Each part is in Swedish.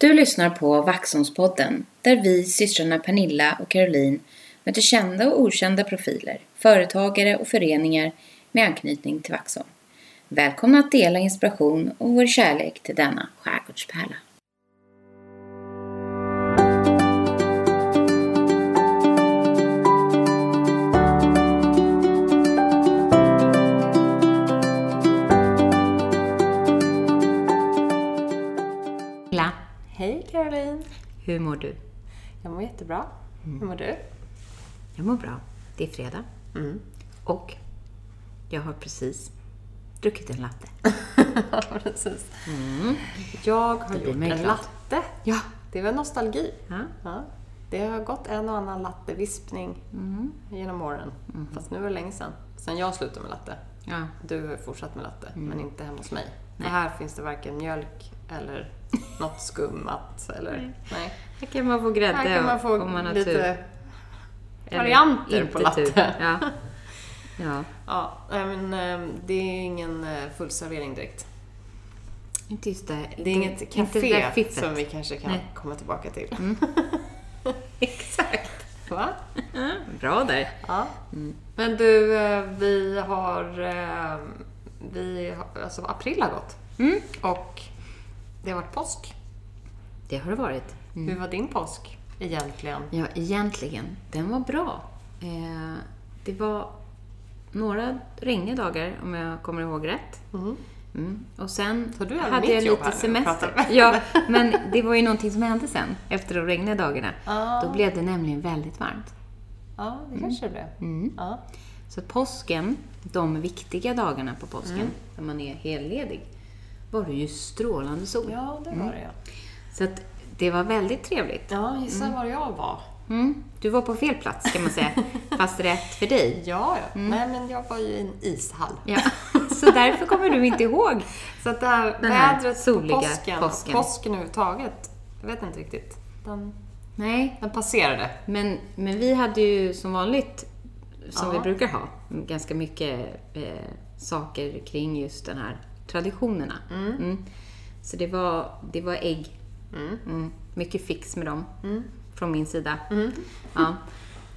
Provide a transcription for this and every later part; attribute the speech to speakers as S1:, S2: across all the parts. S1: Du lyssnar på Vaxholmspodden där vi, systrarna Pernilla och Caroline möter kända och okända profiler, företagare och föreningar med anknytning till Vaxholm. Välkomna att dela inspiration och vår kärlek till denna skärgårdspärla. Pernilla,
S2: Hej Caroline!
S1: Hur mår du?
S2: Jag mår jättebra.
S1: Mm.
S2: Hur mår du?
S1: Jag mår bra. Det är fredag.
S2: Mm.
S1: Och jag har precis druckit en latte.
S2: Ja, precis.
S1: Mm.
S2: Jag har
S1: blir
S2: gjort en
S1: mig glad.
S2: latte.
S1: Ja.
S2: Det var nostalgi.
S1: Ja.
S2: Det har gått en och annan lattevispning
S1: Mm.
S2: genom åren. Fast nu var det länge sedan. Sen jag slutade med latte.
S1: ja.
S2: Du har ju fortsatt med latte,
S1: Mm.
S2: men inte hemma hos mig. För här finns det varken mjölk eller något skummat. Eller, nej.
S1: Här kan man få grädde
S2: Här kan man få
S1: om man har
S2: lite
S1: tur. Eller
S2: varianter
S1: inte
S2: på latte.
S1: tur. Ja. ja,
S2: Ja, nej, men eh, det är ingen eh, full servering direkt.
S1: inte just det.
S2: Det är inget
S1: inte det där
S2: café
S1: fiffet.
S2: som vi kanske kan
S1: Nej. Mm.
S2: komma tillbaka till.
S1: Exakt.
S2: Va?
S1: Bra där.
S2: Ja. Mm. Men du, eh, vi har... eh, Vi har alltså april har gått.
S1: Mm.
S2: Och det har varit påsk.
S1: Det har det varit.
S2: Hur var din påsk egentligen?
S1: Ja, egentligen. Den var bra. Eh, det var några regniga dagar, om jag kommer ihåg rätt. Mm. Och sen
S2: Så du är
S1: hade
S2: mitt
S1: jag
S2: jobb
S1: lite
S2: här nu, pratar
S1: semester.
S2: vi.
S1: Ja, men det var ju någonting som hände sen, efter de regniga dagarna.
S2: Ah.
S1: Då blev det nämligen väldigt varmt.
S2: Ja,
S1: Mm.
S2: det kanske det blev. Ja.
S1: Så att påsken, de viktiga dagarna på påsken,
S2: Mm.
S1: när man är helledig, var det ju strålande sol.
S2: ja, det
S1: Mm.
S2: var det ja.
S1: Så att det var väldigt trevligt.
S2: Ja, gissa var jag var.
S1: Mm. Du var på fel plats kan man säga, fast rätt för dig.
S2: Ja, ja. Nej, men jag var ju i en ishall.
S1: Ja. Så därför kommer du inte ihåg.
S2: Så att det här
S1: Den här
S2: vädret
S1: soliga
S2: på påsken,
S1: påsken.
S2: påsken. påsken överhuvudtaget, jag vet inte riktigt. Den,
S1: Nej,
S2: den passerade.
S1: men, men vi hade ju som vanligt, som
S2: Ja.
S1: vi brukar ha, ganska mycket eh, saker kring just den här traditionerna. Mm. Så det var, det var ägg. Mm. Mycket fix med dem
S2: Mm.
S1: från min sida. Ja.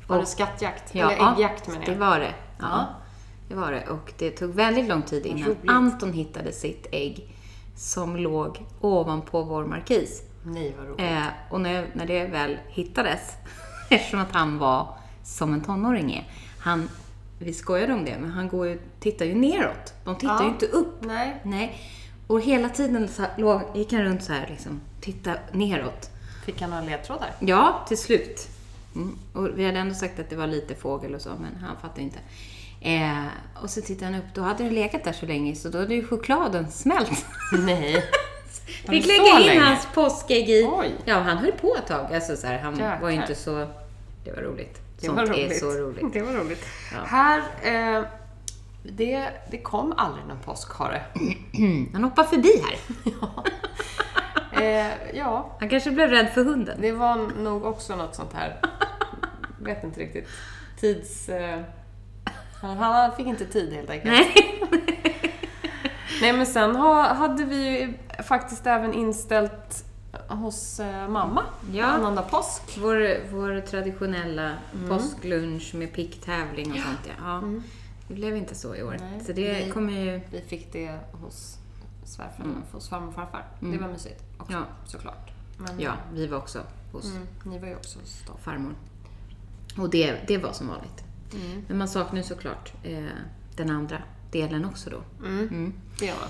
S2: Var
S1: Och-
S2: det skattjakt?
S1: Ja,
S2: Mm. Eller äggjakt menar
S1: det
S2: jag.
S1: var det. Ja.
S2: Ja.
S1: det var det. Och det tog väldigt lång tid innan
S2: roligt.
S1: Anton hittade sitt ägg som låg ovanpå vår markis.
S2: Nej, vad roligt.
S1: Eh, och när, när det väl hittades, eftersom att han var som en tonåring är, han, vi skojade om det, men han går ju, tittar ju neråt. De tittar
S2: Ja.
S1: ju inte upp.
S2: Nej,
S1: Nej. Och hela tiden så här, låg, gick han runt så här, liksom, titta neråt.
S2: fick han några ledtrådar?
S1: Ja, till slut. Mm. Och vi hade ändå sagt att det var lite fågel och så, men han fattade inte. Eh, och så tittade han upp, då hade det legat där så länge så då hade ju chokladen smält.
S2: Nej.
S1: Vi fick
S2: så
S1: lägga in
S2: länge?
S1: hans påskägg i...
S2: Oj.
S1: Ja, han höll på ett tag. Alltså, så här, han
S2: Jäklar.
S1: var ju inte så... Det var roligt.
S2: Det
S1: Sånt
S2: var roligt.
S1: är så roligt.
S2: Det var roligt.
S1: Ja.
S2: Här, eh, det, det kom aldrig någon påskhare.
S1: Han hoppade förbi här.
S2: eh, ja,
S1: Han kanske blev rädd för hunden.
S2: det var nog också något sånt här, vet inte riktigt, tids... Eh, han, han fick inte tid helt enkelt.
S1: Nej.
S2: Nej men sen ha, hade vi ju faktiskt även inställt hos eh, mamma
S1: Ja.
S2: annandag påsk.
S1: Vår, vår traditionella
S2: Mm.
S1: påsklunch med picktävling och sånt. Ja. Ja. Det blev inte så i år.
S2: Nej,
S1: så det
S2: vi-
S1: kommer ju...
S2: Vi fick det hos svärfar, hos farmor och farfar. Det var mysigt också,
S1: Ja.
S2: såklart. Men
S1: Ja, vi var också hos
S2: mm, ni var ju också hos dem.
S1: farmor. Och det, det var som vanligt.
S2: Mm.
S1: Men man saknar ju såklart eh, den andra delen också då.
S2: Mm. Det gör man.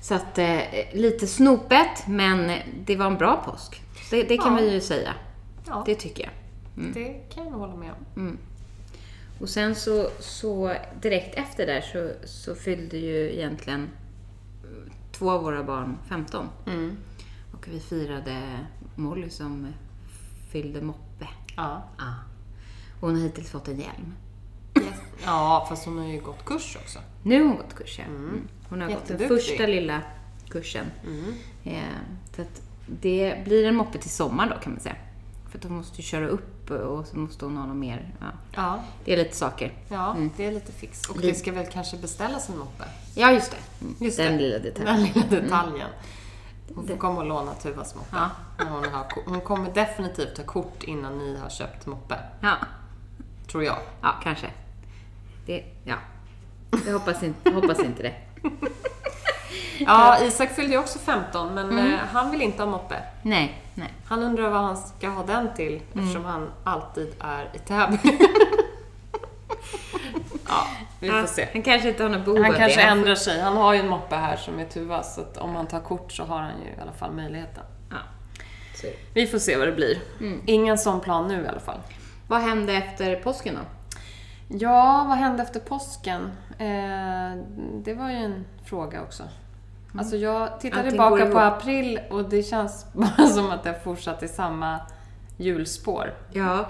S1: Så att eh, lite snopet, men det var en bra påsk. Det, det kan
S2: Ja.
S1: vi ju säga.
S2: Ja,
S1: Det tycker jag.
S2: det kan jag hålla med om.
S1: Och sen så, så direkt efter där så, så fyllde ju egentligen eh, två av våra barn 15.
S2: Mm.
S1: Och vi firade Molly som fyllde moppe.
S2: Ja.
S1: Ah. Och hon har hittills fått en hjälm.
S2: Yes. ja, fast hon har ju gått kurs också.
S1: Nu har hon gått kurs, ja. Mm. Hon har gått den
S2: Jätteduktig. Mm.
S1: första lilla kursen. Eh, så att det blir en moppe till sommar då kan man säga. För att hon måste ju köra upp och så måste hon ha något mer. Ja.
S2: Ja,
S1: Det är lite saker.
S2: ja det är lite fix. Och Mm. det ska väl kanske beställas en moppe?
S1: Ja, just det. Mm.
S2: Just
S1: den
S2: det. Mm.
S1: lilla detaljen.
S2: Den lilla detaljen. Hon får komma och låna Tuvas moppe.
S1: Ja.
S2: När Hon, har, ko- hon kommer definitivt ta kort innan ni har köpt moppe.
S1: Ja,
S2: Tror jag.
S1: ja kanske. Det, ja. Jag hoppas inte, hoppas inte det.
S2: Ja, Isak fyllde ju också 15, men eh, han vill inte ha moppe.
S1: Nej, nej.
S2: Han undrar vad han ska ha den till eftersom han alltid är i Täby. ja, vi får se.
S1: Han kanske inte har något behov
S2: Han
S1: av
S2: kanske
S1: det.
S2: ändrar sig. Han har ju en moppe här som är Tuvas, så att om han tar kort så har han ju i alla fall möjligheten.
S1: Ja. Så.
S2: Vi får se vad det blir. Ingen sån plan nu i alla fall.
S1: Vad hände efter påsken då?
S2: Ja, vad hände efter påsken? Eh, det var ju en fråga också. Alltså jag tittar
S1: Mm. Allting går
S2: tillbaka
S1: ihop.
S2: på april och det känns bara som att jag fortsatt i samma hjulspår.
S1: Ja.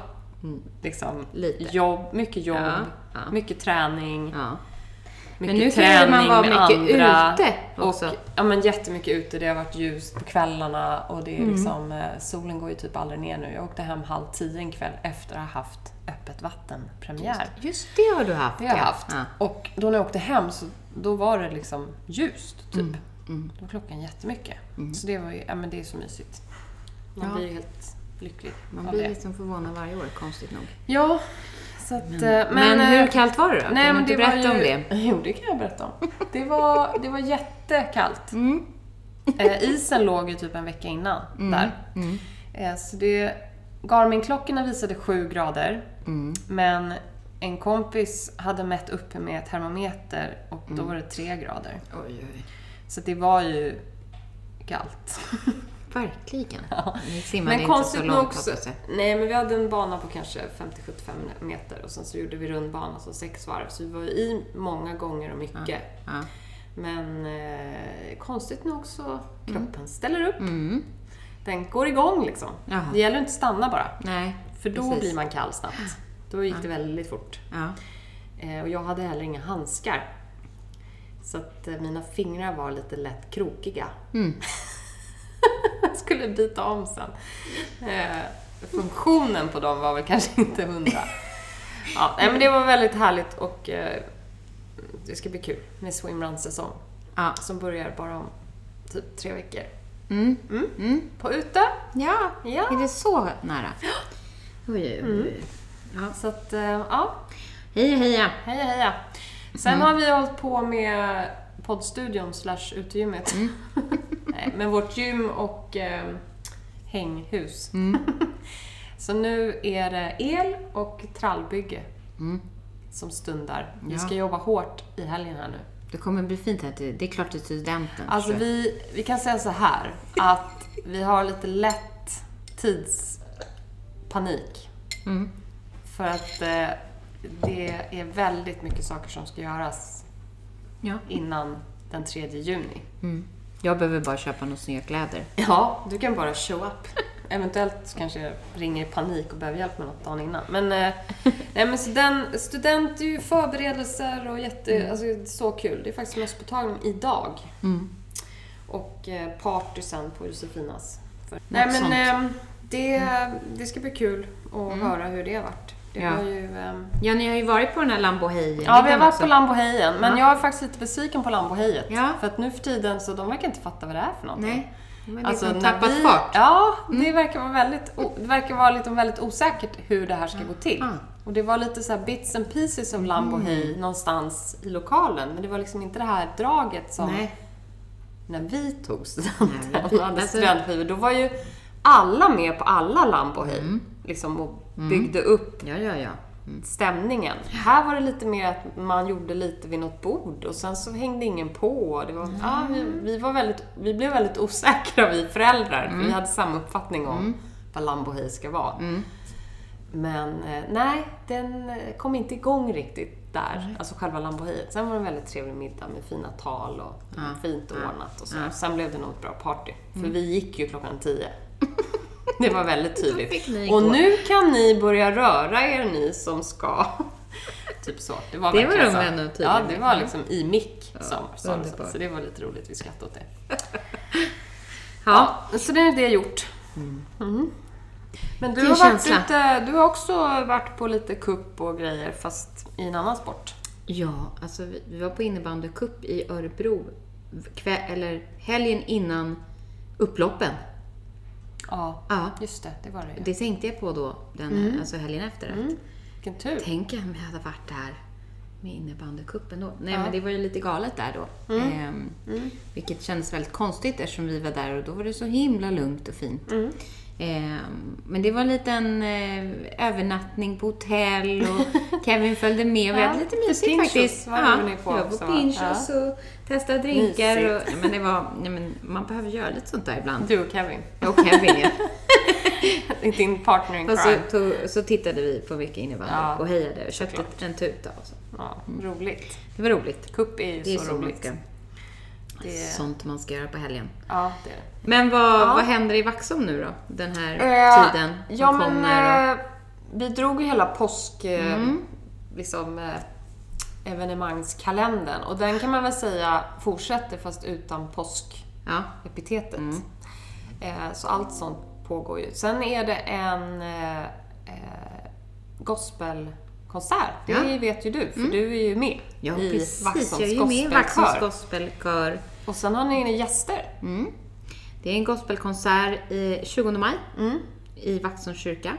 S2: Liksom,
S1: Lite.
S2: Jobb, mycket jobb,
S1: Ja, ja.
S2: mycket träning,
S1: ja.
S2: mycket
S1: nu kan
S2: träning
S1: man vara
S2: med
S1: mycket
S2: andra.
S1: ute också.
S2: Och, ja, men jättemycket ute. Det har varit ljust på kvällarna och
S1: Mm.
S2: det är liksom, eh, solen går ju typ aldrig ner nu. Jag åkte hem halv tio en kväll efter att ha haft Öppet vatten-premiär.
S1: Just det har du haft.
S2: Det har jag haft.
S1: Ja.
S2: Och då när jag åkte hem så då var det liksom ljust, typ.
S1: Mm.
S2: Då var klockan jättemycket. Så det var ju, ja men det är så mysigt. Man
S1: Ja.
S2: blir ju helt lycklig
S1: Man
S2: av
S1: blir
S2: det.
S1: liksom förvånad varje år, konstigt nog.
S2: Ja, så att... Men, men,
S1: Men,
S2: eh,
S1: hur kallt var det då? kan du inte
S2: var
S1: berätta om det?
S2: Jo, det kan jag berätta om. Det var, det var jättekallt.
S1: Mm.
S2: Eh, isen låg ju typ en vecka innan där.
S1: Mm.
S2: Eh, så det, Garmin-klockorna visade 7 grader.
S1: Mm.
S2: Men en kompis hade mätt upp med termometer och då var det 3 grader.
S1: Oj, oj.
S2: Så det var ju kallt.
S1: Verkligen. Ni simmade
S2: Men
S1: inte så
S2: konstigt nog
S1: långt
S2: så,
S1: hoppas jag.
S2: Nej, men vi hade en bana på kanske 50-75 meter och sen så gjorde vi rundbana, så sex varv. Så vi var ju i många gånger och mycket.
S1: Ja.
S2: Men eh, konstigt nog så kroppen ställer upp.
S1: Mm.
S2: Den går igång liksom.
S1: Jaha.
S2: Det gäller att inte stanna bara.
S1: Nej,
S2: För då
S1: precis.
S2: blir man kall snabbt. Då gick det väldigt fort.
S1: Ja.
S2: Eh, och jag hade heller inga handskar. Så att eh, mina fingrar var lite lätt krokiga. jag skulle byta om sen. Eh, funktionen på dem var väl kanske inte hundra. Ja, nej, men det var väldigt härligt och eh, det ska bli kul med swimrun-säsong.
S1: Ja.
S2: Som börjar bara om typ tre veckor.
S1: Mm.
S2: Mm.
S1: Mm.
S2: På ute.
S1: Ja.
S2: Ja.
S1: är det så nära? Oj, oj, oj.
S2: Mm.
S1: Ja.
S2: Så att, eh, ja.
S1: Heja, heja.
S2: Heja, heja. Sen har vi hållit på med poddstudion slash utegymmet. Nej, men vårt gym och eh, hänghus. Så nu är det el och trallbygge
S1: Mm.
S2: som stundar. Vi
S1: Ja.
S2: ska jobba hårt i helgen här nu.
S1: Det kommer bli fint här. till- Det är klart till studenten.
S2: Alltså
S1: tror jag.
S2: vi, vi kan säga så här att vi har lite lätt tidspanik. För att eh, det är väldigt mycket saker som ska göras
S1: Ja. Mm.
S2: innan den 3 juni.
S1: Jag behöver bara köpa några snygga kläder.
S2: Ja, du kan bara show up. Eventuellt så kanske jag ringer i panik och behöver hjälp med något dagen innan. Men, eh, nej, men så den, student är ju förberedelser och jätte, alltså, det är så kul. Det är faktiskt mösspåtagning idag. Och eh, party sen på Josefinas. För, Mm. nej men
S1: sånt.
S2: ehm, det, det ska bli kul att höra hur det har varit. Det
S1: Ja.
S2: var ju, ehm,
S1: Ja, ni har ju varit på den här Lambohejen.
S2: Ja, vi har varit på
S1: Lambohejen.
S2: Lambohejen. Men jag är faktiskt lite besviken på Lambohejet.
S1: Ja.
S2: För att nu för tiden så de verkar inte fatta vad det är för någonting.
S1: Nej. De har
S2: Alltså,
S1: liksom
S2: när
S1: tappat
S2: vi,
S1: fart. Mm.
S2: Ja, det verkar vara väldigt, o, det verkar vara liksom väldigt osäkert hur det här ska gå till.
S1: Ah.
S2: Och det var lite så här bits and pieces av
S1: Mm.
S2: Lambohej någonstans i lokalen. Men det var liksom inte det här draget som
S1: Nej.
S2: när vi tog studenten
S1: Nej, vi-
S2: och hade
S1: alltså-
S2: studentskivor. Då var ju alla med på alla Lambohej.
S1: Mm.
S2: Liksom och byggde upp
S1: Ja, ja, Mm. ja.
S2: stämningen. Här var det lite mer att man gjorde lite vid något bord och sen så hängde ingen på. Det var, ja, vi, vi, var väldigt, vi blev väldigt osäkra vi föräldrar för vi hade samma uppfattning om vad Lambohej ska vara. Men eh, nej, den eh, kom inte igång riktigt där, alltså själva Lambohejet. Sen var det en väldigt trevlig middag med fina tal och fint ordnat och så. Sen blev det nog ett bra party. För
S1: Mm.
S2: vi gick ju klockan tio. Det var väldigt
S1: fick
S2: tydligt.
S1: ni
S2: Och
S1: gå.
S2: nu kan ni börja röra er ni som ska. Typ så. Det var,
S1: Det var
S2: verkligen
S1: de
S2: så.
S1: ändå tydliga
S2: Ja, det
S1: med.
S2: var liksom i mick som sa det. så.
S1: underbart.
S2: Så det var lite roligt. Vi skrattade åt det.
S1: Ja.
S2: Ja, så det är det gjort. Mhm. Men du
S1: Vilken
S2: har, varit
S1: känsla.
S2: ute, du har också varit på lite kupp och grejer fast i en annan sport.
S1: Ja, alltså vi, vi var på innebandycup i Örebro kväll, eller helgen innan upploppen.
S2: Ja,
S1: Ja.
S2: just det. Det var det ju.
S1: Det tänkte jag på då, den, alltså helgen efter. Att,
S2: Mm. Vilken tur.
S1: Tänk om jag hade varit där med innebandycupen då. Nej,
S2: Ja. Mm.
S1: men det var ju lite galet där då. Ehm, Vilket kändes väldigt konstigt eftersom vi var där och då var det så himla lugnt och fint.
S2: Mm.
S1: Ehm, men det var en liten eh, övernattning på hotell och Kevin följde med. Vi
S2: Ja,
S1: hade lite
S2: lite
S1: mysigt
S2: Pinchos
S1: faktiskt.
S2: var
S1: Ja,
S2: du ni på
S1: vi var på
S2: också, va?
S1: Pinchos och testade drinkar.
S2: Mysigt.
S1: Och, nej, men det var, nej, men man behöver göra lite sånt där ibland.
S2: Du och Kevin.
S1: Jag och Kevin ja.
S2: Din partner in
S1: Och så,
S2: crime.
S1: tog, så tittade vi på mycket innebandy
S2: Ja,
S1: och hejade och köpte
S2: såklart.
S1: en tuta och så.
S2: Ja, roligt.
S1: Det var roligt.
S2: Cup är ju
S1: Det är
S2: så,
S1: så
S2: roligt.
S1: mycket
S2: Det är-
S1: sånt man ska göra på helgen.
S2: Ja, det är det.
S1: Men vad, vad händer i Vaxholm nu då? Den här
S2: Eh,
S1: tiden
S2: Ja,
S1: som
S2: men
S1: kommer. och- Mm.
S2: eh, vi drog ju hela påsk... eh, Liksom, eh, evenemangskalendern. Och den kan man väl säga fortsätter fast utan påsk
S1: Ja.
S2: epitetet.
S1: Mm.
S2: Eh, så allt sånt pågår ju. Sen är det en eh, eh, gospelkonsert. Det
S1: Ja. Mm.
S2: vet ju du, för du är ju med
S1: ja,
S2: i
S1: precis.
S2: Vaxholms
S1: Jag är ju med i
S2: gospelkör.
S1: Vaxholms gospelkör.
S2: Och sen har ni gäster.
S1: Mm. Det är en gospelkonsert i 20 maj i Vaxholms kyrka.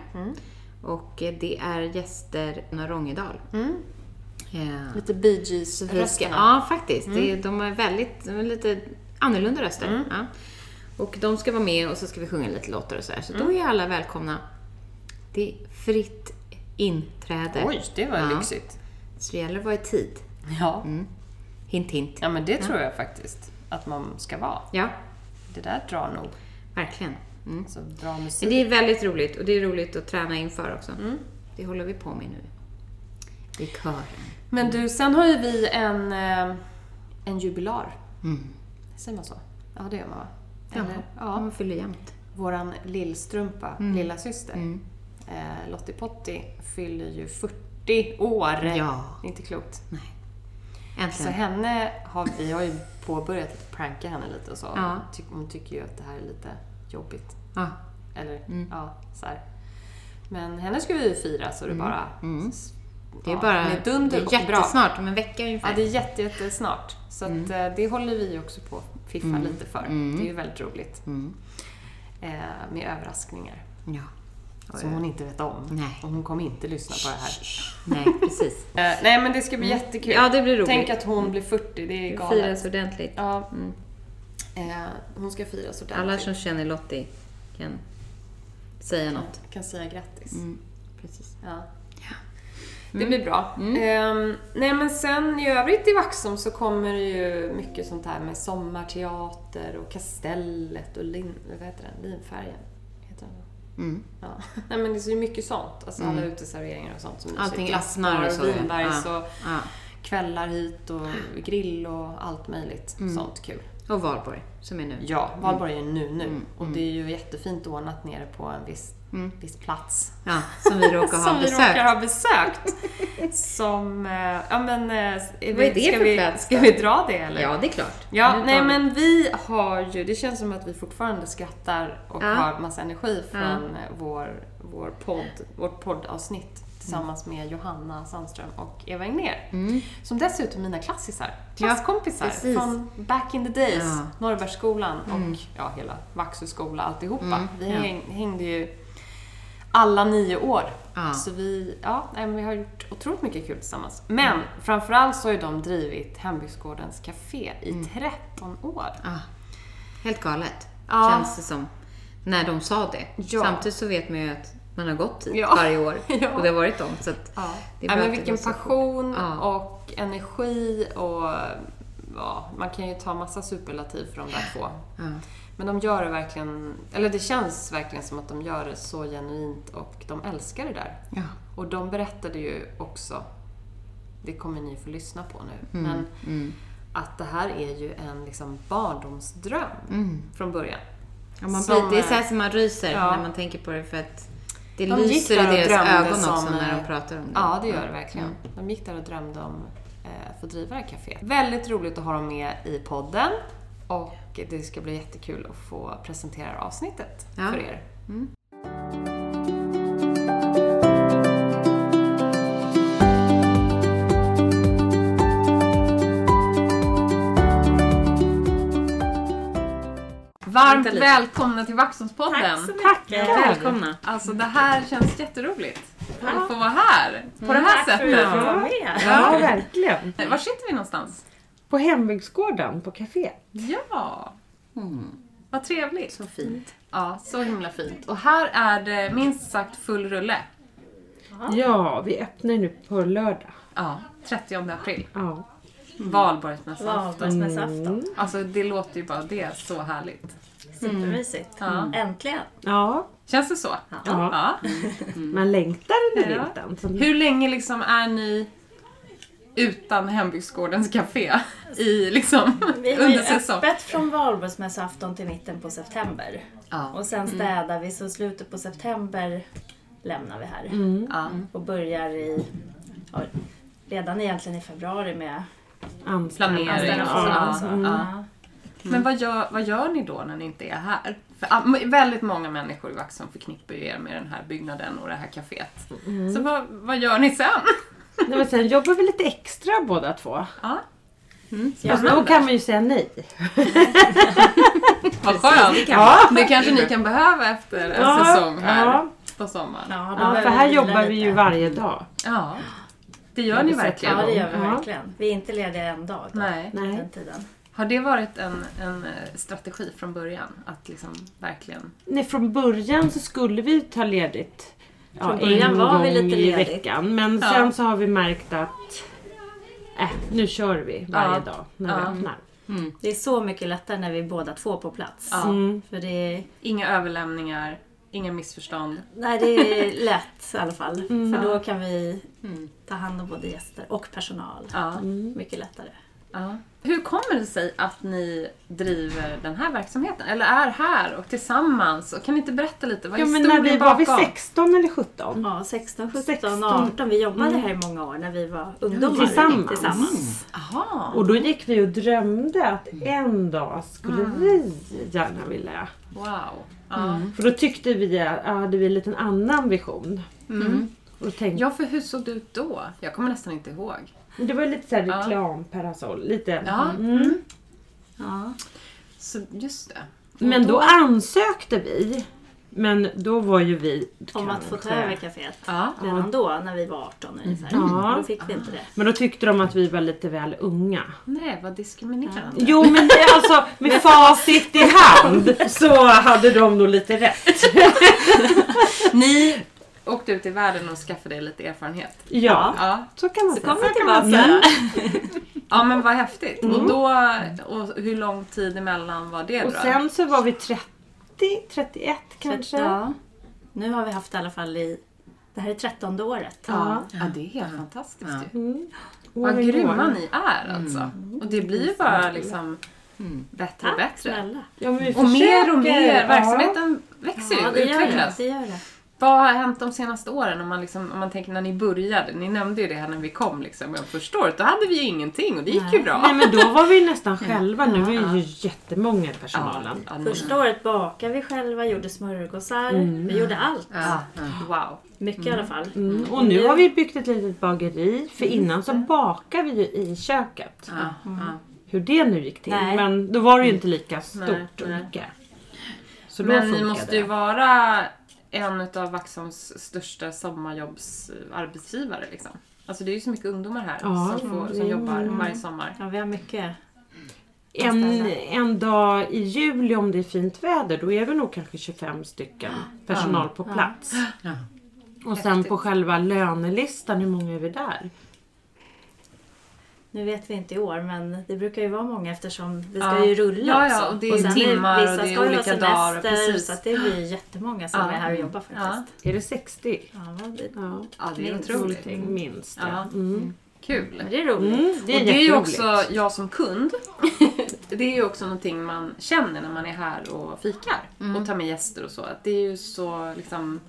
S1: Och eh, det är gäster från Rångedal. Eh,
S2: Lite Bee Gees
S1: Vi ska-
S2: rösterna.
S1: Ja, faktiskt. Det, de är väldigt, de är lite annorlunda röster.
S2: Mm.
S1: Ja. Och de ska vara med och så ska vi sjunga lite låtar och sådär. Så
S2: Mm.
S1: då är alla välkomna. Det är fritt inträde.
S2: Oj, det var
S1: Ja.
S2: lyxigt.
S1: Så det gäller att vara i tid.
S2: Ja.
S1: Hint, hint.
S2: ja, men det tror jag faktiskt att man ska vara.
S1: Ja,
S2: Det där drar nog.
S1: verkligen. Mm.
S2: Alltså, bra
S1: Men
S2: musik.
S1: det är väldigt roligt och det är roligt att träna inför också.
S2: Mm.
S1: Det håller vi på med nu. I kören.
S2: Men du, sen har ju vi en, eh, en jubilar.
S1: Mm.
S2: Säger man så? Ja, det gör man va?
S1: Ja,
S2: Eller? Ja.
S1: man fyller jämt.
S2: Våran lillstrumpa,
S1: Mm.
S2: lilla syster. Eh, Lottie Potti fyller ju 40 år.
S1: Ja.
S2: Inte klokt.
S1: Nej.
S2: Så
S1: Äntligen.
S2: henne har vi har ju påbörjat att pranka henne lite och så.
S1: Ja.
S2: Ty- hon tycker ju att det här är lite jobbigt.
S1: Ja.
S2: Eller
S1: Mm.
S2: ja, så här. Men henne ska vi ju fira så det bara... s-
S1: Mm. Det är
S2: ja,
S1: bara
S2: Med dunder
S1: det är
S2: och brak.
S1: jättesnart, Mm. om en vecka ungefär.
S2: Ja, det är jätte, jättesnart. Så att, eh, det håller vi också på att fiffa
S1: Mm.
S2: lite för. Det är ju väldigt roligt. Eh, med överraskningar.
S1: Ja.
S2: Som hon inte vet om.
S1: Nej.
S2: Och hon kommer inte lyssna på det här.
S1: Nej, precis.
S2: Eh, nej, men det ska bli jättekul.
S1: Ja, det blir roligt.
S2: Tänk att hon blir 40, det är
S1: Det
S2: galet.
S1: firas ordentligt. Mm.
S2: Ja. Eh, hon ska firas ordentligt.
S1: Alla som känner Lottie kan säga något.
S2: kan säga grattis.
S1: Mm. Precis.
S2: Ja. Mm.
S1: Mm.
S2: Det blir bra. Eh, nej men sen i övrigt i Vaxholm så kommer det ju mycket sånt här med sommarteater och Kastellet och lin, vad heter den? Linfärgen. Heter den.
S1: Mm.
S2: Ja. Nej men det är så mycket sånt. Alltså alla uteserveringar och sånt. Som
S1: Allting
S2: glassbar
S1: öppnar och så, ja.
S2: och vinbergs
S1: Ja.
S2: och
S1: Ja.
S2: kvällar hit och grill och allt möjligt
S1: Mm.
S2: sånt kul.
S1: Och Valborg, som är nu.
S2: Ja, valborg är ju nu nu
S1: Mm.
S2: och det är ju jättefint ordnat nere på en viss, viss plats.
S1: Ja, som vi råkar ha
S2: Som vi
S1: besökt.
S2: råkar ha besökt. Som, eh, ja men... eh,
S1: Vad är det
S2: ska
S1: för
S2: vi,
S1: plats
S2: Ska
S1: då?
S2: vi dra det eller?
S1: Ja, det är klart.
S2: Ja,
S1: Nu tar
S2: nej
S1: vi-
S2: men vi har ju, det känns som att vi fortfarande skrattar och
S1: Ja.
S2: har massa energi från eh, vår, vår podd, vårt poddavsnitt
S1: Mm.
S2: tillsammans med Johanna Sandström och Eva Engner.
S1: Mm.
S2: Som dessutom är mina klassisar, klasskompisar
S1: precis.
S2: från back in the days,
S1: Ja. Mm.
S2: Norrbergsskolan och ja, hela Vaxhögskola, alltihopa. Vi
S1: ja.
S2: häng, hängde ju alla nio år.
S1: Ja.
S2: Så vi, ja, nej, men vi har gjort otroligt mycket kul tillsammans. Men
S1: Mm.
S2: framförallt så har ju de drivit Hembygdsgårdens Café i
S1: Mm.
S2: 13 år.
S1: Ja. Helt galet,
S2: Ja.
S1: känns det som. När de sa det.
S2: Ja.
S1: Samtidigt så vet man ju att man har gått hit
S2: Ja.
S1: varje år.
S2: Ja.
S1: Och det har varit dem. Så att
S2: Ja.
S1: det är bra
S2: Ja, men
S1: att det
S2: vilken
S1: går så fort.
S2: passion
S1: Ja.
S2: och energi och ja, man kan ju ta massa superlativ för de där två.
S1: Ja.
S2: Men de gör det verkligen, eller det känns verkligen som att de gör det så genuint och de älskar det där.
S1: Ja.
S2: Och de berättade ju också, det kommer ni få lyssna på
S1: Mm.
S2: nu, men att det här är ju en liksom barndomsdröm
S1: Mm.
S2: från början.
S1: Ja, man
S2: Som,
S1: blir, det är
S2: eh,
S1: så här som man ryser
S2: ja.
S1: när man tänker på det för att det
S2: De gick
S1: lyser i
S2: där och
S1: deras
S2: drömde
S1: ögon
S2: som,
S1: också när de
S2: eh,
S1: pratar om det.
S2: Ja, det gör det verkligen. De gick där och drömde om eh, att få driva det här caféet. Väldigt roligt att ha dem med i podden och det ska bli jättekul att få presentera avsnittet
S1: Ja.
S2: för er. varmt
S3: lite.
S2: välkomna till Vaxholmspodden.
S4: Tack så mycket.
S3: Välkomna!
S2: Alltså det här känns jätteroligt. Att få vara här. På det här
S4: Mm. Tack för att jag får
S2: sättet.
S4: vara med.
S5: Ja, verkligen.
S2: Nej, Var sitter vi någonstans?
S5: På hembygdsgården på café.
S2: Ja. Vad trevligt.
S1: Så fint.
S2: Ja, så himla fint. Och här är det minst sagt full rulle.
S5: Ja, vi öppnar ju nu på lördag.
S2: Ja, 30 april.
S5: Ja.
S4: Mm.
S2: Valborgsmässoafton.
S5: Mm.
S4: Valborgsmässoafton.
S2: Alltså det låter ju bara det så härligt.
S4: Supermysigt.
S2: Mm. Ja.
S4: Äntligen.
S5: Ja,
S2: Känns det så?
S4: Ja.
S2: ja.
S5: man längtar under
S2: Ja.
S5: vintern. Så
S2: Hur länge liksom är ni utan Hembygdsgårdens café i liksom
S4: Vi har ju
S2: under säsong?
S4: öppet från valborgsmässoafton till mitten på september.
S2: Ja.
S4: Och sen städar vi så slutet på september lämnar vi här.
S2: Ja.
S4: Och börjar i, ja, redan egentligen i februari med
S5: anställda.
S2: Planering och
S4: anställningsfrågor och
S2: så.
S4: så.
S2: Ja.
S4: Ja.
S2: Men vad gör, vad gör ni då när ni inte är här? För, ah, m- väldigt många människor i Vaxholm förknippar ju er med den här byggnaden och det här kaféet. Så vad, vad gör ni sen?
S5: Nej, men sen jobbar vi lite extra båda två.
S2: Ja.
S5: Fast då kan man ju säga nej.
S2: Vad skönt!
S5: Ja,
S2: Det kanske ni kan behöva efter en
S5: Ja,
S2: säsong här
S5: ja.
S2: på sommaren.
S4: Ja, då
S5: ja,
S4: behöver
S5: för här
S4: vila
S5: jobbar vi
S4: lite.
S5: ju varje dag.
S2: Ja, det gör ni verkligen.
S4: Ja, det gör vi
S5: Ja.
S4: verkligen. Vi är inte lediga en dag då,
S2: Nej.
S5: Nej.
S4: den tiden.
S2: Har det varit en, en eh, strategi från början? Att liksom verkligen...
S5: Nej, från början så skulle vi ta ledigt ja,
S4: Från början
S5: en
S4: var vi
S5: gång
S4: lite
S5: i
S4: ledigt.
S5: veckan. Men
S2: Ja.
S5: sen så har vi märkt att äh, nu kör vi varje
S2: Ja.
S5: dag när
S2: Ja.
S5: vi öppnar.
S4: Det är så mycket lättare när vi är båda två på plats.
S2: Ja.
S5: Mm.
S4: För det är,
S2: Inga överlämningar, inga missförstånd.
S4: nej, det är lätt i alla fall. För då kan vi ta hand om både gäster och personal.
S2: Ja,
S4: Mycket lättare.
S2: ja. Hur kommer det sig att ni driver den här verksamheten? Eller är här och tillsammans? Och kan ni inte berätta lite? Vad är
S5: Ja, men när vi
S2: historien
S5: var vi
S2: bakom?
S5: 16 eller 17?
S4: Ja, 16, 17,
S5: 16.
S4: 18. Vi jobbade här i många år när vi var ungdomar.
S5: Tillsammans.
S4: Mm. Tillsammans.
S2: Jaha,
S5: Och då gick vi och drömde att en dag skulle vi gärna vilja.
S2: wow. Ja.
S5: För då tyckte vi att ja, hade vi en liten annan vision. Och då tänkte,
S2: ja, för hur såg det ut då? Jag kommer nästan inte ihåg.
S5: Det var ju lite såhär
S2: Ja.
S5: reklamparasoll. Lite.
S2: Ja.
S5: Mm.
S4: Ja.
S2: Så just det.
S5: Men då ansökte vi. Men då var ju vi
S4: Om att få ta över caféet.
S2: Ja.
S4: Redan då, när vi var 18 ungefär.
S5: Ja.
S4: Då fick vi inte det.
S5: Men då tyckte de att vi var lite väl unga.
S2: Nej, vad diskriminerande.
S5: Jo men det är alltså med facit i hand så hade de nog lite rätt.
S2: Ni åkte ut i världen och skaffade er lite erfarenhet.
S5: Ja,
S2: Ja,
S5: så kan man
S4: Så
S5: säga.
S4: kom vi tillbaka.
S2: ja men vad häftigt. Och, då, och hur lång tid emellan var det
S5: Mm. Och
S2: då?
S5: sen så var vi 30, 31 kanske.
S4: Ja. Nu har vi haft i alla fall i... Det här är trettonde året.
S5: Ja.
S2: Ja, det är helt fantastiskt ju.
S5: Mm.
S2: Vad
S5: Åren
S2: grymma
S5: går.
S2: ni är alltså. Och det blir ju bara liksom bättre och bättre.
S4: Snälla.
S5: Ja, men vi
S2: Och mer och
S5: försöker.
S2: mer.
S5: Ja.
S2: Verksamheten växer ju
S4: Ja,
S2: och
S4: det gör det.
S2: utvecklas.
S4: det, gör det.
S2: Vad har hänt de senaste åren om man, liksom, om man tänker när ni började? Ni nämnde ju det här när vi kom liksom. Men första året, då hade vi ju ingenting och det gick ju
S4: Nej.
S2: bra.
S5: Nej men då var vi nästan själva. Nu är ju jättemånga i
S2: Ja,
S5: personalen.
S2: ja, ni-
S4: Första året bakade vi själva, gjorde smörgåsar. Vi gjorde allt.
S2: ja, mm, wow.
S4: Mycket i alla fall.
S5: Mm. Och nu har vi byggt ett litet bageri. För innan så bakade vi ju i köket.
S2: Mm. Ja, ja.
S1: Mm.
S5: hur det nu gick till.
S4: Nej.
S5: Men då var det ju inte lika
S2: Nej,
S5: stort och
S2: nej.
S5: mycket. Så då
S2: Men ni
S5: funkade
S2: måste
S5: det.
S2: ju vara en av Vaxholms största sommarjobbsarbetsgivare. Liksom. Alltså det är ju så mycket ungdomar här
S5: Ja,
S2: som, får,
S5: det
S2: som
S5: är-
S2: jobbar varje sommar.
S4: Ja, vi har mycket.
S5: en, en dag i juli om det är fint väder då är vi nog kanske 25 stycken personal på plats. Och sen på själva lönelistan, hur många är vi där?
S4: Nu vet vi inte i år, men det brukar ju vara många eftersom det ska
S2: Ja.
S4: ju rulla
S2: Ja, ja,
S4: också.
S2: och det är
S4: sen
S2: timmar och
S4: vissa
S2: det är
S4: ska ju ha
S2: olika dagar,
S4: semester,
S2: precis.
S4: Så att det blir ju jättemånga som
S2: Ja. Mm.
S4: är här och jobbar faktiskt.
S5: Är det 60?
S4: Ja. vad det,
S5: Ja,
S2: Ja, det är
S4: Minst.
S2: otroligt.
S5: minst.
S2: Ja.
S5: Ja. Mm.
S2: Kul.
S4: men det är roligt.
S5: Mm, det är,
S2: och det är ju
S5: jätteroligt.
S2: också, jag som kund, det är ju också någonting man känner när man är här och fikar
S5: Mm.
S2: och tar med gäster och så. Att det är ju så liksom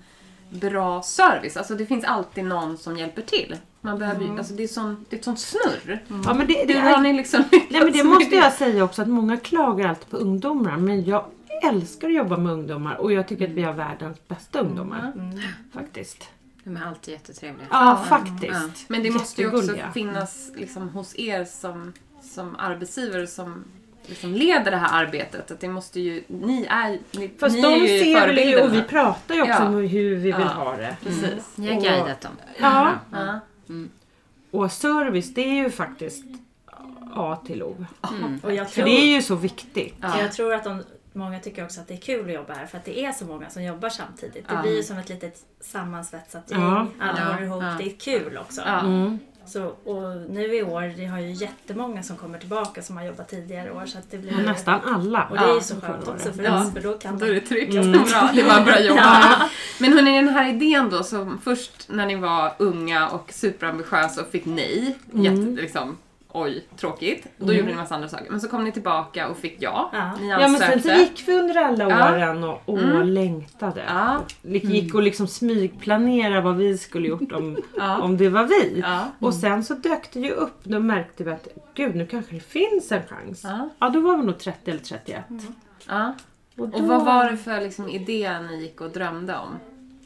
S2: bra service. Alltså det finns alltid någon som hjälper till. Man behöver ju, alltså det är, sån, det är ett sånt snurr.
S5: Mm. Ja, men det, det,
S2: Hur har
S5: är,
S2: ni liksom
S5: nej, men det
S2: lyckats med
S5: måste jag säga också att många klagar alltid på ungdomar men jag älskar att jobba med ungdomar och jag tycker att vi har världens bästa ungdomar.
S2: Mm.
S5: Faktiskt.
S1: De är alltid jättetrevliga.
S5: Ja, faktiskt.
S2: Men det måste ju också
S5: Jättegulliga.
S2: finnas liksom hos er som, som arbetsgivare som liksom leder det här arbetet. Att det måste ju, ni är, ni,
S5: Fast
S2: ni är
S5: de
S2: ju
S5: ser det ju och vi
S2: förebilderna.
S5: pratar ju också
S2: Ja.
S5: om hur vi vill
S2: Ja.
S5: ha det.
S2: Precis.
S1: Ni har guidat dem.
S5: Ja.
S2: Mm. Ja.
S5: Och service det är ju faktiskt A till O.
S4: Och jag
S5: För
S4: tror,
S5: det är ju så viktigt.
S4: jag tror att de, många tycker också att det är kul att jobba här för att det är så många som jobbar samtidigt. Det
S2: Ja.
S4: blir ju som ett litet sammansvetsat gäng.
S5: Ja.
S4: Alla
S2: Ja.
S4: håller ihop.
S1: Ja.
S4: Det är kul också.
S2: Ja.
S5: Mm.
S4: Så, och nu i år, det har ju jättemånga som kommer tillbaka som har jobbat tidigare år. Så att det blir
S5: Och nästan alla.
S4: Och det är ju
S2: Ja,
S4: så skönt
S5: förra
S4: också för
S2: Ja.
S4: oss, för då kan
S2: Då
S4: de
S2: är det tryggt.
S5: Mm.
S2: Bra. Det var bra jobbat. Men hörni, den här idén då som först när ni var unga och superambitiösa och fick nej.
S5: Mm.
S2: Jätte, liksom, oj, tråkigt. Då gjorde ni massa andra saker. Men så kom ni tillbaka och fick ja.
S4: Ja.
S2: Ni
S5: Ja men sen så
S2: ansökte.
S5: gick vi under alla
S2: Ja. Mm.
S5: åren och, och längtade.
S2: Ja. Mm.
S5: Lik- Gick och liksom smygplanera vad vi skulle gjort om,
S2: Ja.
S5: om det var vi.
S2: Ja. Mm.
S5: Och sen så dök det ju upp, då märkte vi att gud nu kanske det finns en chans.
S2: Ja.
S5: Ja då var vi nog 30 eller 31.
S2: Ja.
S5: då-
S2: Och vad var det för liksom, idé ni gick och drömde om?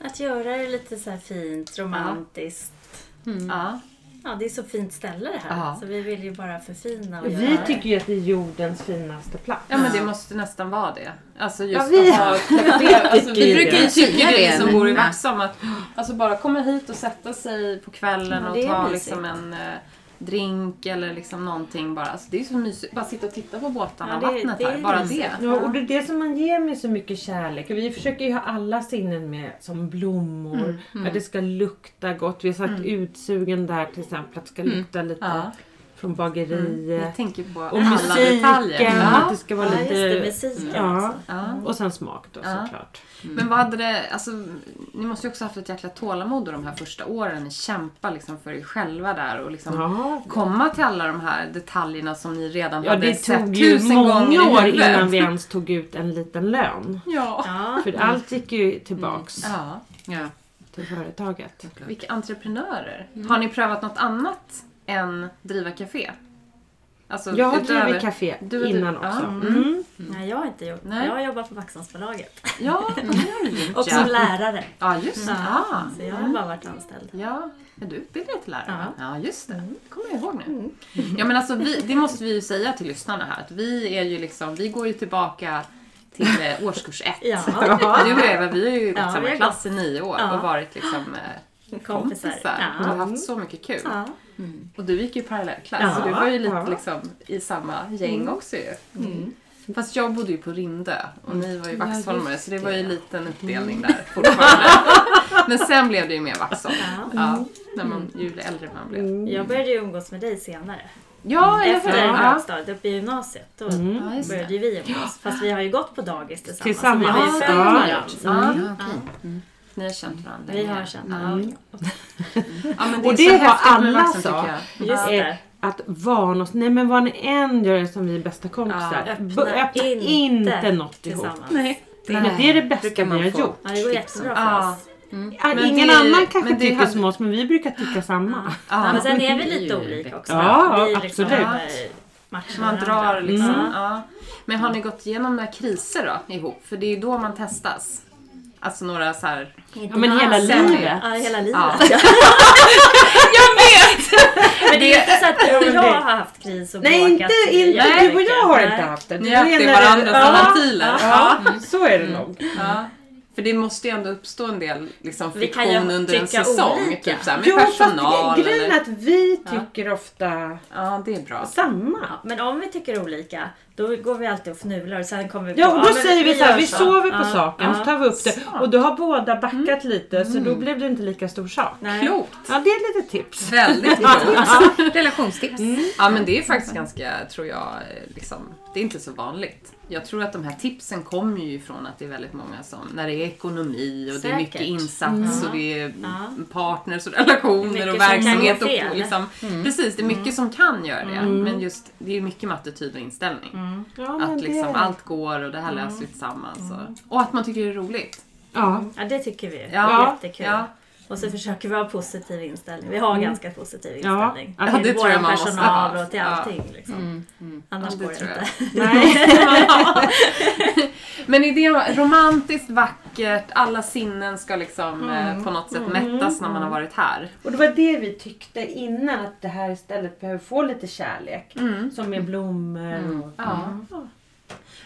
S4: Att göra det lite så här fint, romantiskt.
S2: Ja.
S4: Ja, det är så fint ställe det här.
S2: Ja.
S4: Så vi vill ju bara förfina och
S5: Vi
S4: göra
S5: tycker ju att det är jordens finaste plats.
S2: Ja men det måste nästan vara det. Alltså just
S5: Ja, vi-
S2: att ha ett café. Alltså,
S5: tycker
S2: vi
S5: ju
S2: brukar ju
S1: det.
S2: tycka
S1: Säga
S2: det,
S1: det,
S2: vi som
S1: men-
S2: bor i Vaxholm att alltså, bara komma hit och sätta sig på kvällen
S4: Ja,
S2: och
S4: det är
S2: ta
S4: mysigt.
S2: liksom en eh, drink eller liksom någonting bara. Alltså, det är ju så mysigt. Bara sitta och titta på båtarna
S4: Ja,
S2: och
S4: det-
S2: vattnet
S4: det är
S2: här. Bara
S4: mysigt.
S2: det.
S5: Ja, och det är det som man ger med så mycket kärlek. Och Vi försöker ju ha alla sinnen med som blommor.
S2: Mm,
S5: Att det ska lukta gott. Vi har sagt utsugen där till exempel att det ska lukta lite
S2: Mm. Ja.
S5: från
S2: Jag
S5: bageriet.
S2: tänker på
S5: Och
S2: alla detaljer.
S5: musiken. Att
S2: Ja.
S5: det ska vara
S4: Ja, just
S5: lite...
S4: det, musiken
S5: ja.
S4: också.
S2: Ja.
S5: Och sen smak då
S2: Ja.
S5: såklart.
S2: Men vad hade det, alltså, ni måste ju också haft ett jäkla tålamod då de här första åren. Ni kämpar liksom för er själva där och liksom
S5: Ja.
S2: komma till alla de här detaljerna som ni redan
S5: Ja,
S2: hade
S5: det
S2: sett
S5: tog ju
S2: tusen gånger i
S5: många år
S2: huvudet.
S5: innan vi ens tog ut en liten lön.
S2: Ja.
S4: Ja,
S5: För allt gick ju
S2: Mm.
S5: tillbaks
S2: ja.
S1: Ja.
S5: till företaget.
S2: Vilka entreprenörer. Har ni prövat något annat än driva café? Alltså,
S5: Jag har
S2: utöver-
S5: drivit café
S2: Du har
S5: innan
S2: drivit-
S5: också.
S2: Ja.
S5: Mm.
S4: nej jag har inte gjort.
S2: Nej.
S4: Jag jobbar på Vaxholmsbolaget.
S2: Ja, det har du gjort
S4: Och som
S2: ja.
S4: lärare.
S2: Ja, just det. Ah.
S4: Så jag har bara varit anställd.
S2: Ja, är du utbildad till lärare? va? Ja, just det.
S4: Mm.
S2: Det kommer jag ihåg nu. Ja, men alltså, vi, det måste vi ju säga till lyssnarna här. Att vi, är ju liksom, vi går ju tillbaka till eh, årskurs ett.
S4: Ja,
S2: Du och Eva, vi har ju gått
S4: Ja,
S2: samma
S4: vi har
S2: klass i nio år
S4: Ja.
S2: och varit liksom eh,
S4: kompisar.
S2: kompisar. Och
S4: Ja. Mm.
S2: har haft så mycket kul.
S4: Ja.
S2: Och du gick ju i parallellklass
S5: Ja,
S2: så du var ju lite
S5: ja.
S2: liksom i samma gäng också ju. Mm. Fast jag bodde ju på Rindö och ni var ju Vaxholmare så det var ju en liten uppdelning där fortfarande. Men sen blev det ju mer Vaxholm. Ja. när man, ju äldre man blev.
S4: Jag började ju umgås med dig senare.
S2: Ja, eller hur?
S4: Mm. Efter
S2: Ja. Mm.
S4: högstadiet, uppe i gymnasiet. Då
S2: Ja, just
S4: började ju vi umgås. Fast vi har ju gått på dagis tillsammans.
S5: Tillsammans,
S4: Så vi har ju
S5: ja.
S4: följt
S2: Ja.
S4: varandra.
S1: Ja,
S2: Mm.
S1: okej.
S2: Ni har känt varandra
S4: Vi
S2: länge.
S4: har känt
S2: Ja. Mm.
S4: varandra.
S2: Ja, men
S5: Och
S2: är så
S5: det har
S2: häftigt med
S5: alla
S2: Vaxholm, tycker
S5: så.
S2: jag.
S4: Just
S5: Eh,
S4: det.
S5: Att varna oss. Nej men vad ni än gör som vi är bästa kompisar.
S4: Ja,
S5: öppna, öppna inte, något ihop.
S4: tillsammans.
S5: Det, men det är det bästa
S1: brukar
S5: vi
S1: man
S5: har
S1: få.
S5: gjort.
S4: Ja, det går jättebra för
S2: Ja.
S4: oss.
S5: Ja,
S2: Men
S5: Ingen
S2: det-
S5: annan kanske
S2: men det
S5: tycker
S2: hade-
S5: som oss men vi brukar tycka samma.
S4: Ja,
S2: Ja.
S4: men sen är vi lite olika också.
S5: Ja,
S4: vi
S5: absolut.
S4: eh, matchar
S2: Man drar
S4: varandra.
S2: liksom. Ja. Men har ni gått igenom några kriser då ihop? För det är ju då man testas. Alltså några så här...
S5: Ja men hela
S2: sen-
S5: livet.
S4: Ja, hela livet.
S2: Ja.
S4: jag vet! Men det är inte så att jag har haft kris och
S5: Nej inte,
S4: bråkat
S5: inte
S4: jättemycket.
S5: du och jag har inte
S4: Nej.
S5: haft det.
S2: Ni
S5: Du
S2: äter
S5: menar-
S2: varandras
S5: ja,
S2: volatiler.
S5: Ja, så är det nog.
S2: Ja. För det måste ju ändå uppstå en del liksom,
S4: Vi kan ju
S2: friktion under en
S4: tycka
S2: säsong.
S4: olika.
S2: Typ så här, med
S5: Jo fast
S2: personal
S5: gre- grejen
S2: eller...
S5: är att vi tycker ofta
S2: Ja, det är bra.
S5: samma.
S4: Men om vi tycker olika, då går vi alltid och fnular och sen kommer vi
S5: Ja och då
S4: men
S5: säger vi så
S4: gör
S5: här, vi
S4: så."
S5: sover på
S4: Ja,
S5: saken
S4: ja.
S5: så tar vi upp det. Och då har båda backat lite så då blev det inte lika stor sak.
S4: Nej.
S2: Klokt!
S5: Ja det är lite tips.
S2: Väldigt klokt.
S1: Relationstips.
S2: Ja, men det är faktiskt ganska, tror jag, eh, liksom, det är inte så vanligt. Jag tror att de här tipsen kommer ju ifrån att det är väldigt många som, när det är ekonomi och det är mycket
S4: Säkert. Mm.
S2: insats och det är
S4: Ja.
S2: partners och relationer
S4: Mycket
S2: och
S4: som kan
S2: verksamhet.
S4: gå fel. Mm.
S2: Och, liksom, Precis, det är mycket som kan göra det. Men just, det är ju mycket med attityd och inställning.
S4: Mm.
S5: Ja, men
S2: Att liksom
S5: det-
S2: allt går och det här löser vi tillsammans. Och, och att man tycker det är roligt.
S5: Ja.
S4: Ja, det tycker vi.
S2: Ja.
S4: Jättekul.
S2: Ja.
S4: Och så försöker vi ha positiv inställning. Vi har ganska positiv
S5: Ja.
S4: inställning.
S5: Ja,
S4: till
S2: Mm. det tror jag
S4: vår
S2: man måste
S4: personal
S2: ha.
S4: och till
S2: Ja. Mm,
S4: allting. Liksom. Annars
S2: Ja, det
S4: går det
S2: tror jag.
S4: inte.
S5: Nej.
S2: Men är det romantiskt, vackert vackert, alla sinnen ska liksom
S5: Mm.
S2: eh, på något sätt mättas när man har varit här.
S5: Och det var det vi tyckte innan att det här stället behöver få lite kärlek. Som med blommor och...
S2: Ja.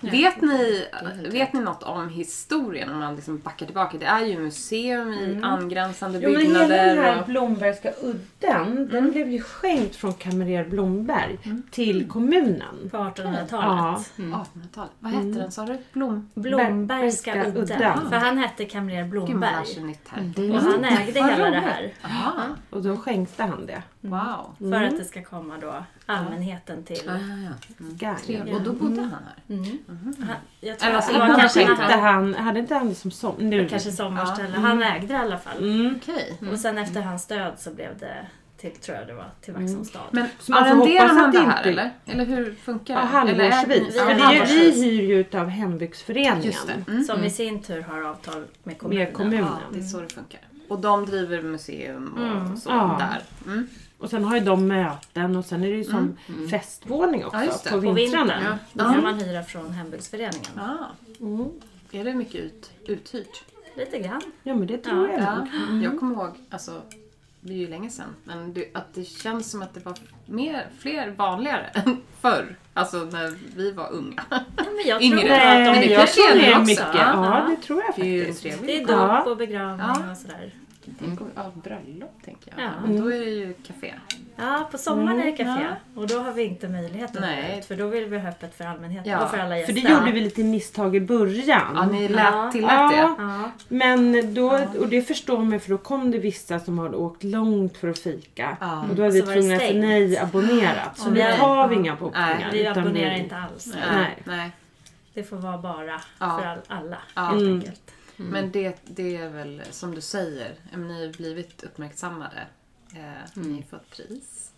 S2: Vet, ni, vet ni något om historien om man liksom backar tillbaka? Det är ju museum i angränsande
S5: Mm. Jo men hela den
S2: byggnader.
S5: här
S2: Och,
S5: Blombergska udden, den blev ju skänkt från kamrer Blomberg till kommunen.
S4: På 1800-talet.
S5: Ja.
S2: 1800-talet. Vad hette
S5: Mm.
S2: den sa du? Blom?
S4: Blombergska
S5: Bergska
S4: udden.
S5: udden.
S4: För han hette kamrer
S2: Gud, Mm. man lär sig
S4: Blomberg.
S2: nytt här.
S5: Mm,
S4: Och han ägde hela det här.
S2: Aha.
S5: Och då skänkte han det.
S2: Wow.
S4: För att det ska komma då allmänheten till. Mm.
S5: Gaia.
S2: Och då bodde han här?
S4: Han, jag tror
S2: Mm. Eller
S4: att det
S2: så
S4: var
S2: innan
S4: kanske,
S2: han
S4: när
S5: Skänkte
S4: han,
S5: han, hade inte han liksom som... Nu. Mm.
S4: kanske sommarställe. Han
S2: Mm.
S4: ägde det i alla fall.
S2: Okej.
S4: Och sen efter hans död så blev det till, tror jag det var, till Vaxholms stad.
S2: Men
S5: Så man får
S2: arrenderar
S5: hoppas
S2: man
S5: att
S2: det
S5: det
S2: här
S5: inte-
S2: eller? Eller hur funkar
S5: Ja,
S2: det? Eller är-
S5: halvårsvis.
S4: Ja,
S5: För det är ju, vi
S4: halvårsvis.
S5: hyr ju utav hembygdsföreningen.
S2: Just det.
S4: Som i sin tur har avtal med kommunen.
S5: Med kommunen.
S2: Ja, det är så det funkar. Och de driver museum och så
S5: Ja.
S2: där. Mm.
S5: Och sen har ju de möten och sen är det ju som festvåning också
S2: Ja, just det.
S5: på
S4: På
S5: vintrarna.
S4: vintern. Då kan man hyra från hembygdsföreningen.
S2: Ah. Är det mycket ut, uthyrt?
S4: Lite grann.
S5: Mm. Ja men det Mm. tror jag.
S2: Ja. Jag kommer ihåg, alltså, det är ju länge sedan, men det, att det känns som att det var mer, fler vanligare än förr. Alltså när vi var unga.
S4: Ja, men jag
S2: Yngre.
S4: tror
S2: Nej,
S4: att
S2: men
S4: de,
S2: det
S5: jag
S2: kanske
S5: tror
S2: är
S5: det
S2: det också.
S5: är mycket. Ja,
S4: Ja.
S5: det tror jag
S2: Det är ju
S5: faktiskt.
S4: det är
S2: trevligt.
S5: Ja.
S4: dop och begravning
S2: Ja.
S4: och sådär.
S2: Tänk om- Mm. Ja, bröllop tänker jag.
S4: Ja.
S2: Men då är det ju café.
S4: Ja, på sommaren
S5: Mm,
S4: är det café. Och då har vi inte möjlighet att
S2: Nej.
S4: gå ut. För då vill vi ha öppet för allmänheten
S2: Ja,
S4: och för alla
S5: För
S4: gäster.
S5: det gjorde vi lite misstag i början.
S2: Ja, ni
S4: Ja.
S2: lät, tillät det.
S4: Ja.
S5: Men då, och det förstår man för då kom det vissa som hade åkt långt för att fika.
S2: Ja.
S5: Och då hade vi
S4: Så var det
S5: tvungna att säga
S4: stängt.
S5: nej abonnerat. Så
S4: Och
S5: nu
S4: nej.
S5: har vi inga bokningar.
S2: Nej,
S4: Vi
S5: utan
S4: abonnerar
S5: vi-
S4: inte alls.
S5: Nej.
S2: Nej.
S4: Det får vara bara
S2: Ja.
S4: för all, alla
S2: Ja.
S4: helt
S5: Mm.
S4: enkelt.
S2: Men det, det är väl som du säger, ja, men ni har ju blivit uppmärksammade. Eh,
S1: Mm.
S2: Ni har fått pris.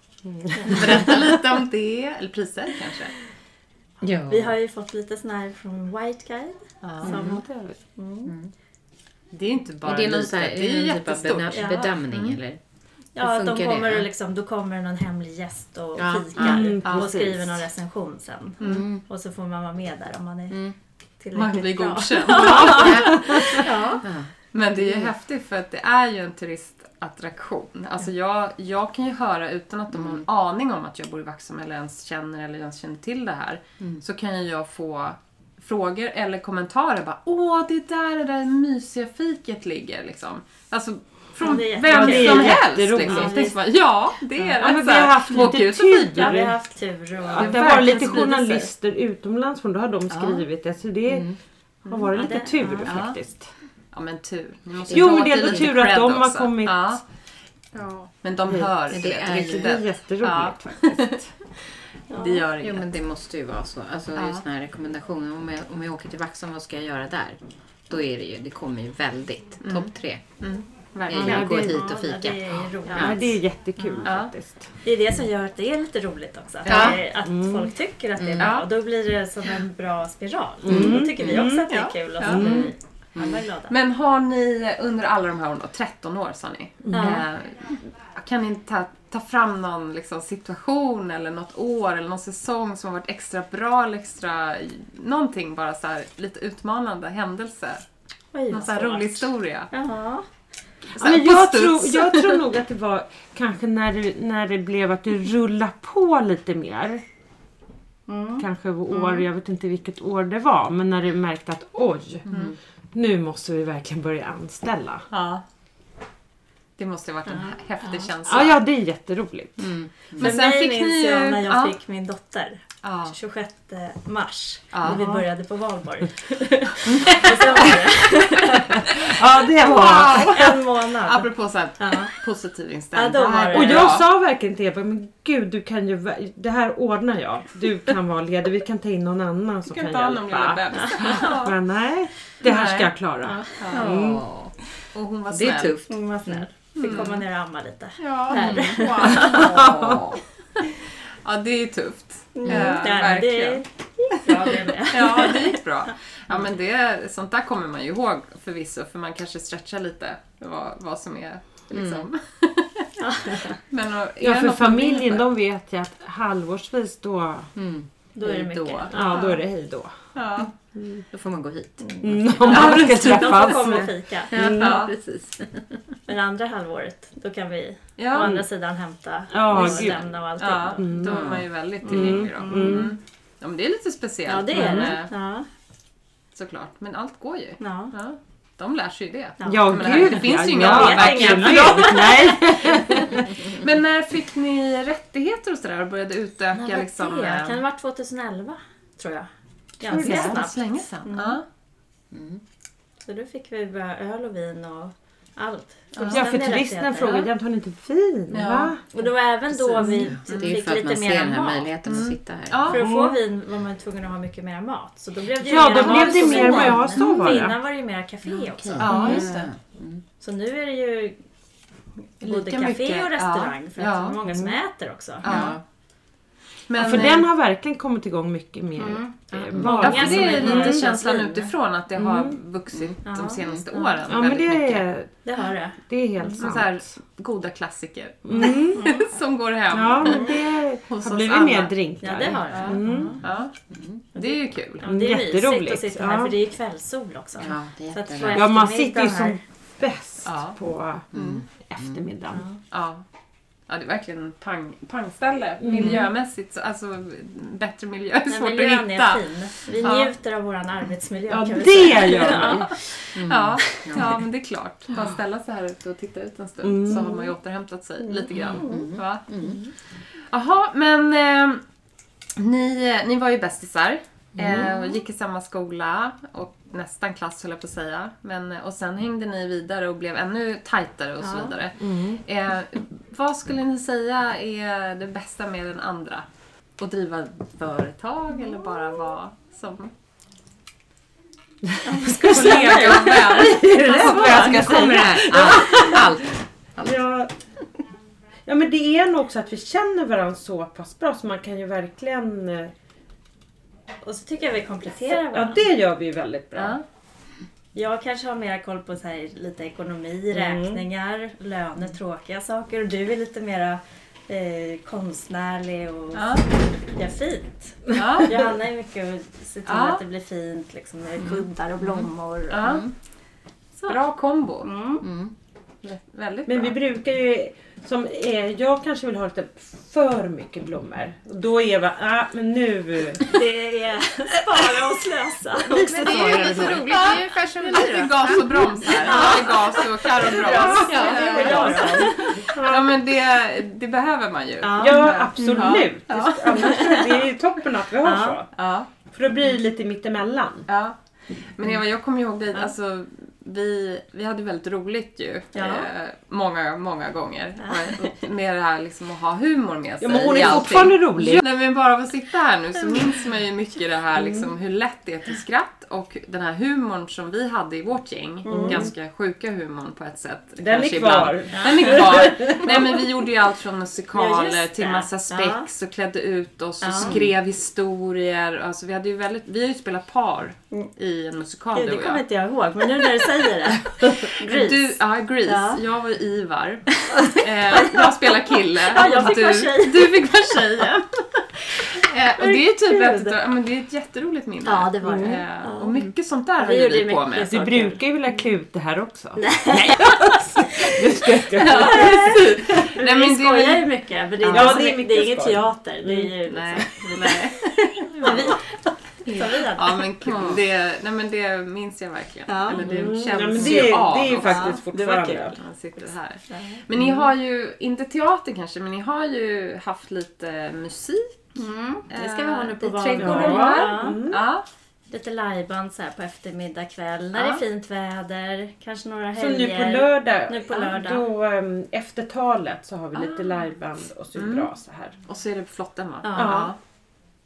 S2: Berätta lite om det, eller priser kanske.
S1: Ja.
S4: Vi har ju fått lite sån här från White Guide.
S2: Ja.
S4: Som,
S2: Det är inte bara
S1: Är Mm. det någon,
S2: lite,
S1: så här,
S2: det är ju
S1: någon typ av
S2: jättestort.
S1: bedö-
S4: Ja.
S1: bedömning eller?
S4: ja, att de
S1: funkar det,
S4: kommer
S1: ja.
S4: och liksom, då kommer någon hemlig gäst och
S1: Ja,
S4: fikar
S5: mm,
S4: och
S5: precis.
S4: skriver någon recension sen. Och så får man vara med där om man är tillräckligt
S2: Mm. Man blir
S4: bra.
S2: godkänd.
S4: Ja.
S2: Men det är ju
S5: Mm.
S2: häftigt för att det är ju en turistattraktion. Alltså jag, jag kan ju höra utan att de har en
S5: Mm.
S2: aning om att jag bor i Vaxholm eller ens känner eller ens känner till det här.
S5: Mm.
S2: Så kan ju jag få frågor eller kommentarer bara Åh, det är där det där mysiga fiket ligger liksom. Alltså från
S4: Ja, det är
S2: vem
S4: jätteroligt.
S2: som
S5: Det är
S2: helst
S5: jätteroligt.
S2: liksom.
S4: Ja,
S2: Tänk så bara, Ja, det är
S5: Ja,
S2: det.
S5: men
S2: Så
S5: vi har
S2: här,
S5: haft
S2: åk
S5: lite
S2: ut och fika.
S5: tur.
S4: Ja, vi har haft tur och...
S5: Att det har varit
S2: Verkligen
S5: lite
S2: spridit sig.
S5: journalister utomlands från då har de skrivit det. Så det har varit lite
S4: Ja, det-
S5: tur
S4: ja.
S5: faktiskt.
S2: Ja men tur. Ni måste
S5: Jo,
S2: ta
S5: men det är
S2: till
S5: ändå
S2: lite
S5: tur att
S2: cred
S5: de har
S2: också.
S5: kommit Mm.
S2: Ja. Men de hör
S1: Men
S2: det,
S1: det är ju-
S5: Det är
S2: ryktet.
S5: jätteroligt
S2: Ja.
S5: faktiskt.
S2: Det gör
S1: Jo
S2: inget.
S1: men det måste ju vara så. Alltså
S2: Ja.
S1: just den här rekommendationen. Om jag, om jag åker till Vaxholm, vad ska jag göra där? Då är det ju, det kommer ju väldigt. Topp tre.
S2: Verkligen.
S1: Jag går
S5: det-
S1: hit och
S4: Ja, det
S1: fika.
S4: är roligt.
S5: Ja, det är jättekul
S2: Ja.
S5: faktiskt.
S4: Det är det som gör att det är lite roligt också. Att,
S2: Ja.
S4: det- att folk tycker att det är bra. Och då blir det som en bra spiral. Då tycker vi också att det
S2: Mm.
S4: är kul och så blir vi alla glada.
S2: Men har ni under alla de här åren då, 13 år sa ni.
S4: Mm.
S2: Eh, kan ni ta, ta fram någon liksom, situation eller något år eller någon säsong som har varit extra bra eller extra någonting bara så här lite utmanande händelse?
S4: Oj,
S2: Någon
S4: vad
S2: så här
S4: svårt.
S2: rolig historia?
S4: Ja.
S2: Så
S5: Ja,
S2: här,
S5: men
S2: på
S5: jag,
S2: studs.
S5: tror, jag tror nog att det var kanske när det, när det blev att du rullade på lite mer. Kanske år, jag vet inte vilket år det var, men när du märkte att oj, nu måste vi verkligen börja anställa.
S2: Ja. Det måste ha varit en häftig känsla.
S5: Ja, ja det är jätteroligt.
S2: Men
S4: För
S2: sen
S4: mig
S2: fick
S4: minns
S2: ni ju...
S4: jag när jag
S2: ja,
S4: fick min dotter.
S2: ja.
S4: 26 mars.
S2: Ja.
S4: När vi började på valborg. Och sen var
S5: Ja, det var...
S4: det en månad.
S2: Apropå så här,
S4: Ja.
S2: positiv
S4: Ja,
S2: inställning.
S4: då var det-
S5: Och jag
S2: bra.
S5: sa verkligen till Eva, men gud du kan ju, ver- det här ordnar jag. Du kan vara ledig, vi kan ta in någon annan som
S2: Jag kan
S5: kan,
S2: ta hand om lilla
S5: hjälpa.
S2: bebisen.
S5: Men nej, det här
S2: Nej.
S5: ska jag klara.
S1: Ja.
S2: Och hon var
S1: Det
S2: snäll.
S1: är tufft.
S4: Hon var snäll.
S2: Mm.
S4: Fick komma ner och amma lite.
S2: Ja.
S4: Där.
S2: Wow. ja, det är tufft. Ja,
S4: Där,
S2: verkligen.
S4: Mm. det gick bra det med.
S2: Ja, det gick bra. Ja, men det, sånt där kommer man ju ihåg förvisso, för man kanske stretchar lite vad, vad som är liksom.
S4: Mm.
S2: men, och, är
S5: Ja,
S2: det
S5: för
S2: något man
S5: familjen
S2: vinner på?
S4: Mm.
S1: Mm.
S5: de vet ju att halvårsvis då
S4: Då är det mycket.
S5: Ja, då är det hej då.
S2: Ja.
S1: Då får man gå hit.
S4: Mm.
S1: Mm.
S2: Mm.
S5: Om man ska
S4: De får
S5: träffas. Mm.
S4: komma och fika.
S2: Ja.
S1: precis.
S4: Men andra halvåret, då kan vi å
S2: Ja.
S4: andra sidan hämta
S5: Ja,
S4: och
S5: gud.
S4: lämna och allting.
S2: ja,
S4: Ja,
S2: då är man ju väldigt tillgänglig då. Mm. Ja, men det är lite speciellt.
S4: det är
S2: men,
S4: det.
S2: eh,
S4: Ja,
S2: Såklart, men allt går ju.
S4: ja.
S2: Ja. De lär sig ju det.
S4: Ja.
S5: Ja,
S2: Men det här-
S5: gud
S2: det finns
S5: ja,
S2: ju inga
S5: ja,
S2: avverkningar
S5: absolut. Nej.
S2: Men när fick ni rättigheter och sådär och började utöka
S4: När var
S2: liksom?
S4: det?
S2: eh,
S4: Kan det ha varit 2011? Tror jag.
S2: Hur är
S4: Ganska
S2: det?
S4: snabbt.
S2: länge sedan.
S5: Mm.
S2: Ja.
S4: Så då fick vi bara öl och vin och allt.
S5: Ja, för
S4: Fullständiga
S5: turisten
S4: rättigheter.
S5: frågade jämt, har ni inte vin?
S2: Ja.
S5: Va?
S4: Och det var även då vi
S1: Det är ju
S4: fick
S1: för att man
S4: lite
S1: ser den här
S4: mer mat. Mm.
S1: möjligheten att sitta här.
S2: Ja.
S4: För att få vin var man tvungen att ha mycket mer mat. Så då blev det
S5: Mm.
S4: ju
S5: Ja,
S4: mera
S5: då blev
S4: mat
S5: det
S4: och
S5: mer
S4: vin. Mm.
S5: vad jag så var det.
S4: Innan var det ju mera café också.
S5: Mm.
S1: Mm.
S2: ja, just det.
S4: Så nu är det ju både
S2: Lika
S4: café
S2: mycket,
S4: och restaurang.
S2: ja.
S4: För att
S2: Ja.
S4: det är många som äter också.
S2: Ja. Men,
S5: Ja, för
S2: eh,
S5: den har verkligen kommit igång mycket mer. Mm.
S2: Ja, för det är
S4: Mm.
S2: lite känslan
S4: Mm.
S2: utifrån att det har vuxit de senaste åren
S5: Ja, men
S2: väldigt
S5: det
S2: mycket.
S5: är,
S4: Det har det.
S5: det är helt
S2: Som
S5: sant.
S2: så här, goda klassiker
S5: Mm.
S2: som går hem.
S5: Ja, men det
S2: Hos
S5: har
S2: oss
S5: blivit
S2: alla.
S5: mer drinkar.
S4: Ja, det har det.
S5: Mm.
S2: Ja. Det är ju kul.
S4: Ja, men det är mysigt
S5: Jätteroligt.
S4: att sitta här
S5: Ja.
S4: för det är ju kvällssol också.
S1: Ja, det är
S4: Så att få
S1: jättebra.
S5: Ja, man
S4: eftermiddagen
S5: sitter ju som
S4: här.
S5: bäst
S2: Ja.
S5: på
S1: Mm.
S5: eftermiddagen.
S2: Ja. Ja, det är verkligen pang, pangställe
S5: Mm.
S2: miljömässigt. så- Alltså, bättre miljö är
S4: Nej,
S2: svårt att
S4: miljön
S2: hitta.
S4: är fin. Vi
S2: Ja.
S4: njuter av våran arbetsmiljö
S5: Ja,
S4: kan vi
S5: det
S4: säga.
S5: gör vi.
S2: Mm. Ja, ja, Mm. men det är klart. Bara ställa sig här ute och titta ut en stund så har man ju återhämtat sig lite grann. Va? Jaha, men eh, ni, eh, ni var ju bästisar. Eh, och gick i samma skola och nästan klass höll jag på att säga. Men, eh, och sen hängde ni vidare och blev ännu tajtare och så vidare.
S5: Mm.
S2: Eh, vad skulle ni säga är det bästa med den andra? Att driva företag eller bara vara som kollega och vän?
S1: Nu kommer det här. Allt. Allt.
S5: Ja. ja, men det är nog också att vi känner varandra så pass bra så man kan ju verkligen... eh,
S4: Och så tycker jag vi kompletterar varandra.
S5: Ja, det gör vi ju väldigt bra.
S2: Ja.
S4: Jag kanske har mer koll på så här, lite ekonomi, räkningar, löner, tråkiga saker. Och du är lite mera eh, konstnärlig och
S2: Ja.
S4: gör fint.
S2: Ja.
S4: Johanna är mycket att se till
S2: Ja.
S4: att det blir fint liksom, med kuddar och blommor.
S2: Ja.
S1: Mm.
S2: Bra kombo. Vä- Väldigt
S5: Men
S2: bra.
S5: vi brukar ju... Som, eh, jag kanske vill ha lite för mycket blommor. Och Då är Eva, ah, men nu...
S4: Det är spara och slösa.
S1: Men det är ju lite roligt. Det är ungefär som vi
S2: Lite
S1: då.
S2: gas och broms här. Lite gas och karobroms.
S1: Ja, det är bra.
S2: Ja men det, det behöver man ju. Mm.
S4: Ja.
S5: Ja, absolut. Annars är det är ju toppen att vi har så.
S2: Ja.
S5: För då blir det lite mittemellan.
S2: Ja. Men
S5: Mm.
S2: Eva, jag kommer ihåg dig. Alltså, vi, vi hade väldigt roligt ju. Eh, många, många gånger. Och Med det här liksom att ha humor med sig
S5: Ja, men hon
S2: i
S5: är
S2: allting.
S5: fortfarande rolig. Mm.
S2: Ja, Nej, men bara av att sitta här nu så minns man ju mycket det här liksom, hur lätt det är till skratt och den här humorn som vi hade i vårt gäng. Ganska sjuka humorn på ett sätt.
S5: Mm. Den är
S2: kanske
S5: kvar.
S2: Den är kvar. Nej men vi gjorde ju allt från musikaler
S4: Ja, just
S2: till
S4: det.
S2: massa spex och klädde ut oss och skrev historier. Alltså, vi, hade ju väldigt, vi har ju spelat par i en musikal
S4: Gud,
S2: du
S4: Mm. det
S2: och
S4: kommer
S2: jag.
S4: inte jag ihåg, men nu när du säger det. Gris.
S2: Du, ja, Grease.
S4: Ja.
S2: Jag var Ivar. Eh, jag spelar kille.
S4: Ja, jag
S2: och
S4: fick
S2: du,
S4: vara tjej.
S2: Du fick vara tjejen. Eh, och det är typ
S4: Gud.
S2: ett, ja, men det är ett jätteroligt minne.
S4: Ja, det var det.
S2: Eh, och mycket sånt där
S4: Vi
S2: höll
S4: gjorde
S2: vi på
S4: mycket
S2: med.
S5: Du
S4: saker.
S5: brukar ju vilja klä ut det här också.
S2: Nej,
S4: Mm. vi
S2: men det var
S4: skojar ju
S2: ju...
S4: mycket, men det är,
S5: Ja,
S4: det
S5: det är
S4: är,
S5: mycket
S4: det är ingen
S5: skoj.
S4: teater. Det är
S2: Mm.
S4: ju liksom,
S2: Nej. Nej.
S4: som vi, som vi hade.
S2: Ja, men kul. det, nej, men det minns jag verkligen. Eller det känns
S5: Mm. Ja, men det,
S2: ju av.
S5: det är ju
S2: också.
S5: faktiskt fortfarande.
S2: Man sitter här. Men ni har ju, inte teater kanske, men ni har ju haft lite musik.
S4: Mm.
S2: eh,
S4: Det ska vi ha nu på
S2: I
S4: vanlig
S2: trädgården
S4: ordning.
S2: här.
S5: Mm.
S4: Ja.
S2: Ja.
S4: Lite lajband så här på eftermiddag, kväll, när det är fint väder, kanske några
S5: Som
S4: helger.
S5: nu på lördag,
S4: Nu på lördag.
S5: Då, ehm, efter talet så har vi lite liveband och så är det bra så här.
S2: Och så är det flotten va?
S4: Ja.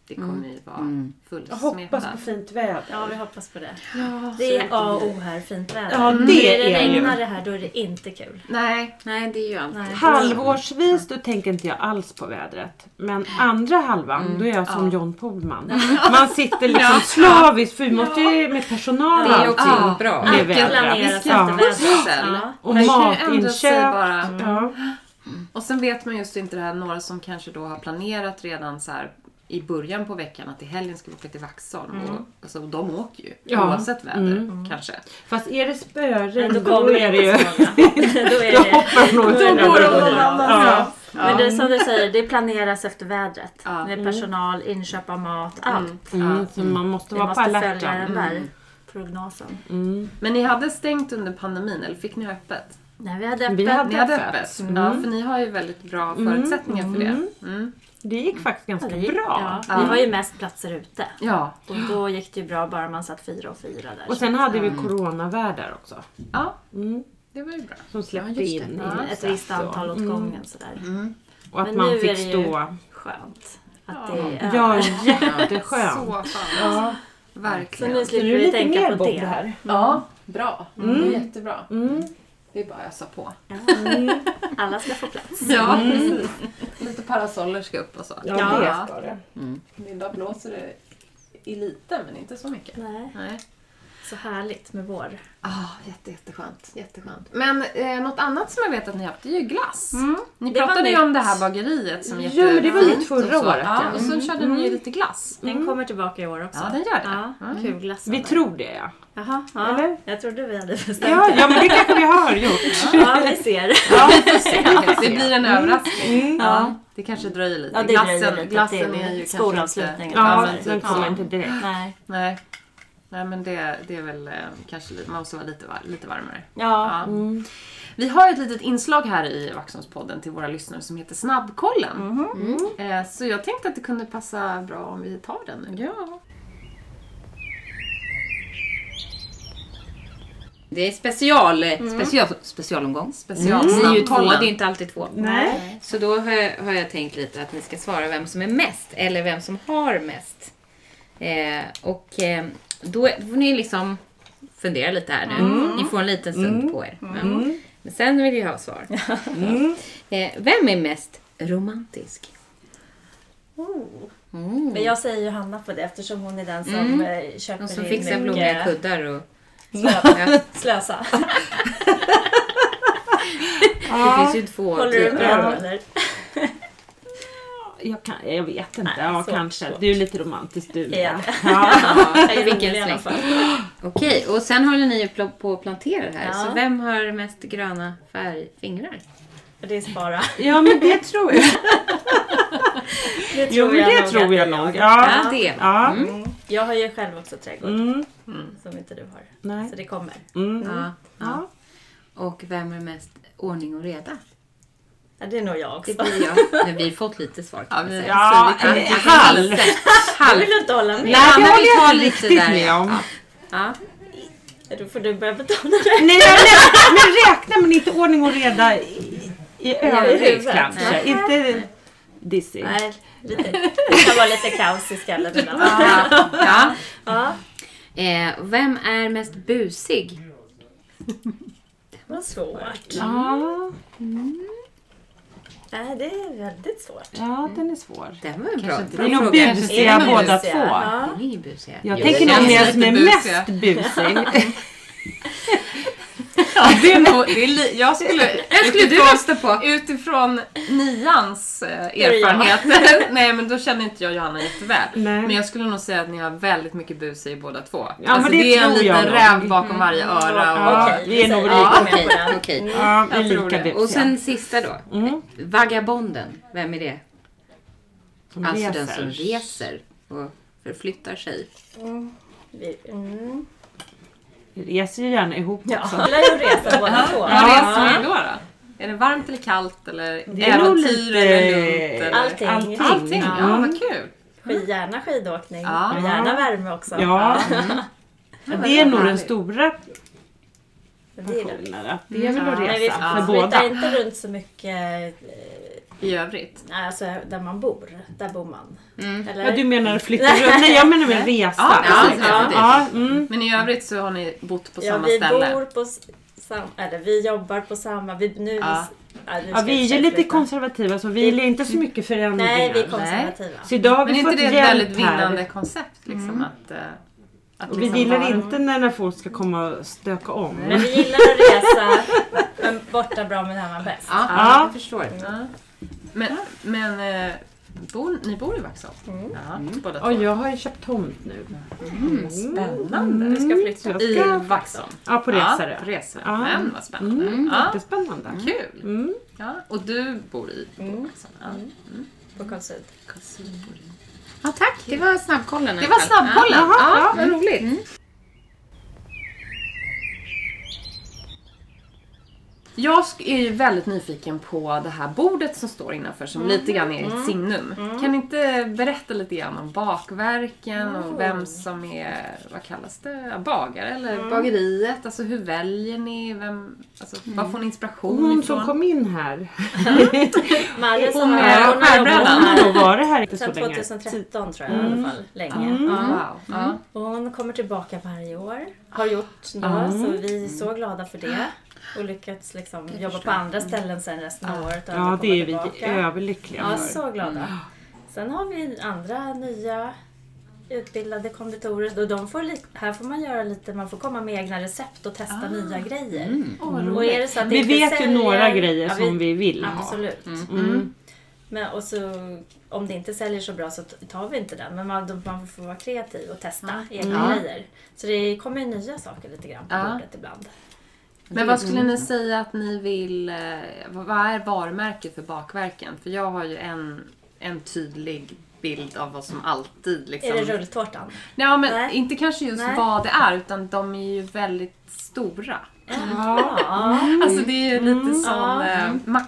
S2: Det kommer
S5: Mm.
S2: ju vara
S5: Jag
S2: fullsmetad.
S5: hoppas på fint väder.
S4: Ja, vi hoppas på det.
S2: Ja,
S4: Det är A och O här, fint väder.
S5: Ja,
S4: Mm.
S5: det
S4: När det
S5: är det ju.
S4: regnar det här, då är det inte kul.
S2: Nej.
S1: Nej, det är ju allt.
S4: Nej.
S5: Halvårsvis då tänker inte jag alls på vädret. Men andra halvan då är jag som John Pohlman. Man sitter liksom slaviskt för vi måste ju med
S1: Det är ju
S5: personalen.
S1: också
S2: Ja.
S1: bra.
S5: Det är
S4: Det
S5: vädret.
S4: planeras
S5: Ja.
S4: efter vädret.
S2: Väl.
S4: Ja.
S5: Och
S2: Men det kan ju ändra sig
S5: matinköp.
S2: bara.
S5: Ja.
S2: Och sen vet man just inte det här, några som kanske då har planerat redan så här i början på veckan att i helgen ska vi åka till Vaxholm. Och, alltså, de åker ju
S5: Ja.
S2: oavsett väder kanske.
S5: Fast är det spöregn
S4: Då kommer
S5: är det ju...
S4: Då är
S5: Då
S4: det...
S5: hoppar de nog
S4: Då går de någon
S5: Ja. Mm.
S4: annanstans. Men det är som du säger, det planeras efter vädret.
S2: Ja.
S4: Med personal, inköp av mat, allt.
S5: Mm, så man måste
S4: Vi
S5: vara på
S4: måste följa
S5: alerten. Mm.
S4: den där prognosen.
S2: Men ni hade stängt under pandemin, eller fick ni ha öppet?
S4: Nej, vi hade
S5: Vi
S4: öppet.
S5: hade-
S2: Ni hade
S5: öppet.
S2: öppet? Ja, för ni har ju väldigt bra förutsättningar för det. Mm.
S5: Det gick faktiskt ganska
S4: Det gick-
S5: bra.
S4: Ja, vi har ju mest platser ute.
S2: Ja.
S4: Och då gick det ju bra bara man satt fyra och fyra där.
S5: Och sen hade vi coronavärdar också.
S2: ja,
S5: Mm.
S2: det var ju bra.
S5: Som släppte
S1: just det.
S5: in
S4: Ja,
S5: i
S4: ett visst
S5: huset
S4: antal åt gången sådär.
S5: Och att
S4: Men
S5: man
S4: nu
S5: fick
S4: är det ju-
S5: stå...
S4: Skönt att det är över.
S5: Ja, jätteskönt.
S2: Så skönt. Ja.
S4: Så
S2: Verkligen.
S4: nu
S5: Så
S4: slipper
S5: nu är
S4: vi
S5: lite
S4: tänka
S5: mer
S4: på
S5: Bob
S4: det.
S5: det här.
S2: Ja, Mm. bra. Det är jättebra. Det är bara att ösa på. Mm.
S4: Alla ska få plats.
S2: Ja, precis. Lite parasoller ska upp och så.
S5: Ja, det ska det.
S2: Idag blåser det i lite, men inte så mycket.
S4: Nej,
S2: Nej.
S4: så härligt med vår.
S2: Ah, jätte, jätteskönt, jätteskönt. Men eh, något annat som jag vet att ni har haft, det är ju glass. Ni
S4: Det var
S2: pratade ju
S4: nytt.
S2: om det här bageriet som är
S5: Ja, men det var
S2: jättefint
S5: nytt förra
S2: och så.
S5: året,
S2: Ja,
S5: ja.
S2: och så körde ni ju lite glass.
S4: Den kommer tillbaka i år också.
S2: Ja, den gör det.
S4: Ja, kul glassad.
S5: Vi tror det ja.
S4: Jaha, ja.
S5: Eller?
S4: Jag trodde vi hade bestämt
S5: Ja,
S4: det.
S5: ja men det kanske vi har gjort.
S4: Ja, vi ser.
S2: Det blir en överraskning. Ja. Det kanske dröjer lite.
S4: Ja, det dröjer
S2: glassen
S4: lite
S2: glassen
S4: till
S2: är ju kanske
S4: skolavslutningen.
S2: inte...
S5: Ja,
S2: men typ
S5: den
S2: så.
S5: kommer inte direkt.
S4: Nej.
S2: Nej. Nej, men det, det är väl eh, kanske lite, man måste vara lite, var, lite varmare.
S4: Ja.
S2: Ja.
S5: Mm.
S2: Vi har ju ett litet inslag här i Vaxholmspodden till våra lyssnare som heter Snabbkollen.
S5: Mhm.
S2: Eh, Så jag tänkte att det kunde passa bra om vi tar den nu. Ja.
S1: Det är special, eh, special, specialomgång. Mm. Ni är ju två, det är inte alltid två.
S5: Nej.
S1: Så då har jag, har jag tänkt lite att ni ska svara vem som är mest eller vem som har mest. Eh, och eh, då får ni liksom fundera lite här nu. Ni får en liten stund på er. Ja. Men sen vill jag ha svar. eh, vem är mest romantisk?
S4: Mm. Men jag säger Johanna på det eftersom hon är den som eh, köper
S1: De som
S4: in
S1: fixar
S4: mycket
S1: blommiga kuddar och...
S4: slö- Slösa.
S1: Det finns ju två
S4: Håller du
S1: typer.
S4: med
S5: Ja.
S4: då eller?
S5: Jag, kan, jag vet inte.
S4: Nej,
S5: ja,
S4: så
S5: kanske.
S4: svårt.
S5: Du är lite romantisk du.
S4: Är jag
S5: Ja.
S4: det?
S1: Ja, vilken
S4: rolig i alla
S1: släng. Okej, och sen håller ni ju pl- på att plantera här.
S4: Ja.
S1: Så vem har mest gröna färgfingrar?
S4: För Det är Spara.
S5: ja, men det tror jag.
S4: Mm. Det
S5: Jo, men det
S4: nog
S5: tror
S4: att
S5: jag
S4: det är
S5: nog. Ja.
S1: Ja, det.
S5: Ja.
S4: Jag har ju själv också trädgård
S5: Mm.
S4: som inte du har.
S5: Nej.
S4: Så det kommer.
S5: Mm.
S1: Ja.
S5: Ja.
S1: Och vem är mest ordning och reda?
S4: Ja, det är nog jag också.
S1: Det blir jag. Men vi har fått lite svar kan man säga.
S5: Ja,
S1: Så Alltså, vi
S5: eh,
S1: kan-
S5: halv.
S4: Jag vill inte hålla med.
S1: Nej,
S5: det
S1: men
S5: håller
S1: vi
S5: jag
S1: tar
S5: inte
S1: lite
S5: riktigt
S1: där,
S5: med
S1: ja.
S5: om.
S1: Ja.
S4: Då får du börja betala det.
S5: Nej, jag räknar, men räkna men inte ordning och reda i, i övrigt
S4: huvudet.
S5: kanske.
S4: Nej.
S5: Inte dizzy.
S4: Nej, lite. Det kan vara lite kaos i skallen ibland.
S1: Ja. Ja.
S4: Ja,
S1: Eh, vem är mest busig?
S4: det var svårt.
S5: Ja,
S4: Nej, det är väldigt svårt.
S5: ja, den är svår.
S1: Den var en bra,
S5: Vi
S1: bra
S5: är nog
S1: fråga.
S5: busiga
S4: Är de
S5: båda
S4: busiga?
S5: två.
S4: Ja.
S1: Ni är busiga.
S5: Jag
S1: Jo,
S5: tänker
S1: det
S5: nog
S1: känns
S5: mer
S1: lite
S5: som är
S1: busig.
S5: mest busig.
S2: Det är nog, det är li, jag skulle,
S1: Vem skulle du rösta på?
S2: utifrån nians eh, erfarenheter, nej men då känner inte jag Johanna jätteväl.
S5: Nej.
S2: Men jag skulle nog säga att ni har väldigt mycket bus i båda två.
S5: men
S2: alltså,
S5: det
S2: det är en
S5: tror jag
S2: liten
S5: nog. Mm.
S2: räv bakom varje öra. Och,
S5: Ja,
S4: Okej,
S5: vi är nog
S4: säger- ja,
S5: lika.
S4: med på den.
S1: Okej, okej.
S5: Ja, vi är
S2: Jag tror
S5: lika
S2: det.
S5: busiga.
S1: Och sen sista då.
S5: Mm.
S1: Vagabonden, vem är det?
S5: Som
S1: Alltså den
S5: reser.
S1: som reser och förflyttar sig.
S4: Vi, mm.
S5: Vi reser ju gärna ihop
S4: Ja,
S5: också.
S4: vi lär ju resa båda två.
S2: Vad
S4: Ja.
S2: reser ni då, då? Är det varmt eller kallt? Eller
S5: Det är nog
S2: äventyr eller lugnt?
S5: lite...
S2: Eller?
S4: Allting.
S5: Allting. Mm.
S2: Allting? Ja,
S5: Ja.
S2: vad kul!
S4: Skid- Gärna skidåkning
S2: Ja.
S4: och gärna värme också.
S5: Ja.
S1: Mm.
S5: Men Det är nog den stora
S4: Det är det.
S5: passionen. att Det är väl att
S4: Men vi
S5: resa för
S4: flyttar
S5: båda.
S4: inte runt så mycket
S2: I övrigt.
S4: eh, alltså, där man bor. Där bor man. Eller?
S5: Ja, du menar att flytta runt? Nej, jag menar med resa.
S2: Ja, precis,
S5: ja.
S2: precis.
S5: ja, mm.
S2: Men i övrigt så har ni bott på
S4: ja,
S2: samma
S4: vi
S2: ställe?
S4: bor på s- sam, eller vi jobbar på samma, vi nu...
S2: Ja.
S4: Ja, nu
S5: ja,
S4: ska
S5: vi är
S4: jag
S5: ju lite
S4: flytta.
S5: konservativa så vi gillar inte så mycket förändringar.
S4: Nej, vi är konservativa.
S5: Så idag har vi
S2: Mm. Men är
S5: fått
S2: inte det ett
S5: hjälp
S2: väldigt
S5: här. Mm.
S2: vinnande koncept? Liksom, att, eh, att
S5: Och vi
S2: liksom vara-
S5: gillar inte när, när folk ska komma och stöka om.
S4: Men vi gillar att resa, men borta bra men hemma bäst.
S1: Ja,
S5: Ja.
S1: jag förstår.
S2: Men, men eh, Bor, ni bor i Vaxholm?
S5: Mm.
S2: Ja, båda två.
S5: Och jag har ju köpt tomt nu.
S2: Mm, Spännande.
S5: Mm.
S2: Du ska flytta
S5: Jag
S2: i
S5: ska-
S2: Vaxholm?
S5: Ja, på Resarö.
S2: Ja, på Resarö.
S5: Ja.
S2: Men vad spännande.
S5: Mm,
S2: Ja.
S5: Jättespännande.
S2: Kul!
S5: Mm.
S2: Ja, och du bor i på Vaxholm? Ja.
S4: Mm. på Karl Syd.
S2: Karlskrona bor i-
S1: Ja, tack. Det var snabbkollen i
S2: Det
S1: alla
S2: var
S1: fall.
S2: snabbkollen!
S5: Jaha,
S2: Ja,
S5: ja.
S2: vad roligt. Jag sk- är ju väldigt nyfiken på det här bordet som står innanför som
S5: Mm.
S2: lite grann är ett signum. Kan ni inte berätta lite grann om bakverken och vem som är, vad kallas det, bagare eller
S5: Mm.
S2: bageriet? Alltså hur väljer ni? Vem, alltså, Var får ni inspiration
S5: Mm. Hon
S2: ifrån?
S5: som kom in här.
S4: Marie som
S2: Hon är
S4: har, hon har
S5: Hon
S4: jobbat
S2: skärbrädan.
S5: har nog
S4: här
S5: varit här inte så
S4: sedan
S5: länge. Mm.
S4: 2013 tror jag i alla fall. Länge.
S2: Ah, wow. Ja.
S4: Och hon kommer tillbaka varje år. Har gjort nu, så
S5: Mm.
S4: vi är så glada för det. Och lyckats liksom jobba på andra ställen sen resten av året. och
S5: Ah. Ja,
S4: aldrig
S5: det
S4: komma
S5: är vi Mm.
S4: tillbaka.
S5: överlyckliga
S4: Ja,
S5: för.
S4: så glada. Sen har vi andra nya utbildade konditorer. Och de får, li- här får man göra lite, man får komma med egna recept och testa nya grejer.
S2: Mm.
S4: Och är det så att det
S5: Ah. Mm. Vi
S4: inte
S5: vet ju
S4: säljer-
S5: några grejer
S4: Ja,
S5: som vi vill ha. Mm.
S4: Absolut. Men, och så, om det inte säljer så bra så t- tar vi inte den. Men man, då- man får vara kreativ och testa egna grejer. Så det kommer ju nya saker lite grann på
S2: Ja.
S4: bordet ibland.
S2: Men vad skulle ni säga att ni vill... eh, Vad vad är varumärket för bakverken? För jag har ju en, en tydlig bild av vad som alltid liksom...
S4: Är det rulltårtan?
S2: Nej, men
S4: Nej.
S2: inte kanske just
S4: Nej.
S2: vad det är, utan de är ju väldigt stora.
S4: Ja.
S2: Alltså det är ju lite som
S4: Mm. Ja.
S2: eh,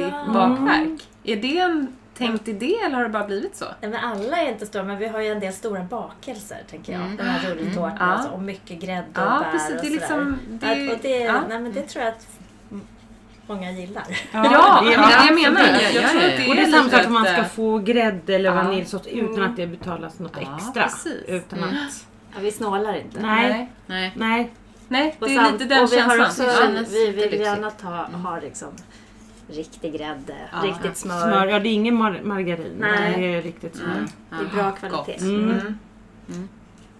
S2: maxi-bakverk. Är det en tänkt idé eller har det bara blivit så?
S4: Nej, men alla är inte stora, men vi har ju en del stora bakelser tänker jag. De här rulltårtorna
S2: Ja.
S4: alltså, och mycket grädde och
S2: Ja,
S4: bär
S2: precis.
S4: och
S2: Det är
S4: sådär.
S2: liksom- det-
S4: Att- och det,
S2: ja.
S4: nej, men det tror jag att m- många gillar.
S2: Ja, det är det jag
S1: absolut.
S2: menar.
S1: Ja,
S2: Jag
S1: ja,
S2: tror
S1: ja.
S2: att det
S5: Och det är
S2: är
S5: samma
S2: lite
S5: sak att man
S2: ett,
S5: ska
S2: eh,
S5: få grädde eller vaniljsås utan att det betalas något extra.
S2: precis.
S5: Utan att...
S4: vi snålar inte.
S5: Nej,
S1: Nej.
S5: nej.
S2: Nej,
S4: Och
S2: det är
S4: sam-
S2: lite den
S4: och vi
S2: känslan.
S4: har också,
S2: Ja.
S1: känns
S4: vi vill
S1: jättelyxigt.
S4: gärna ta, ha liksom riktig grädde, riktigt smör.
S5: Smör. Ja, det är ingen mar- margarin.
S4: Nej.
S5: Det är riktigt smör.
S4: Det är bra kvalitet.
S5: Mm.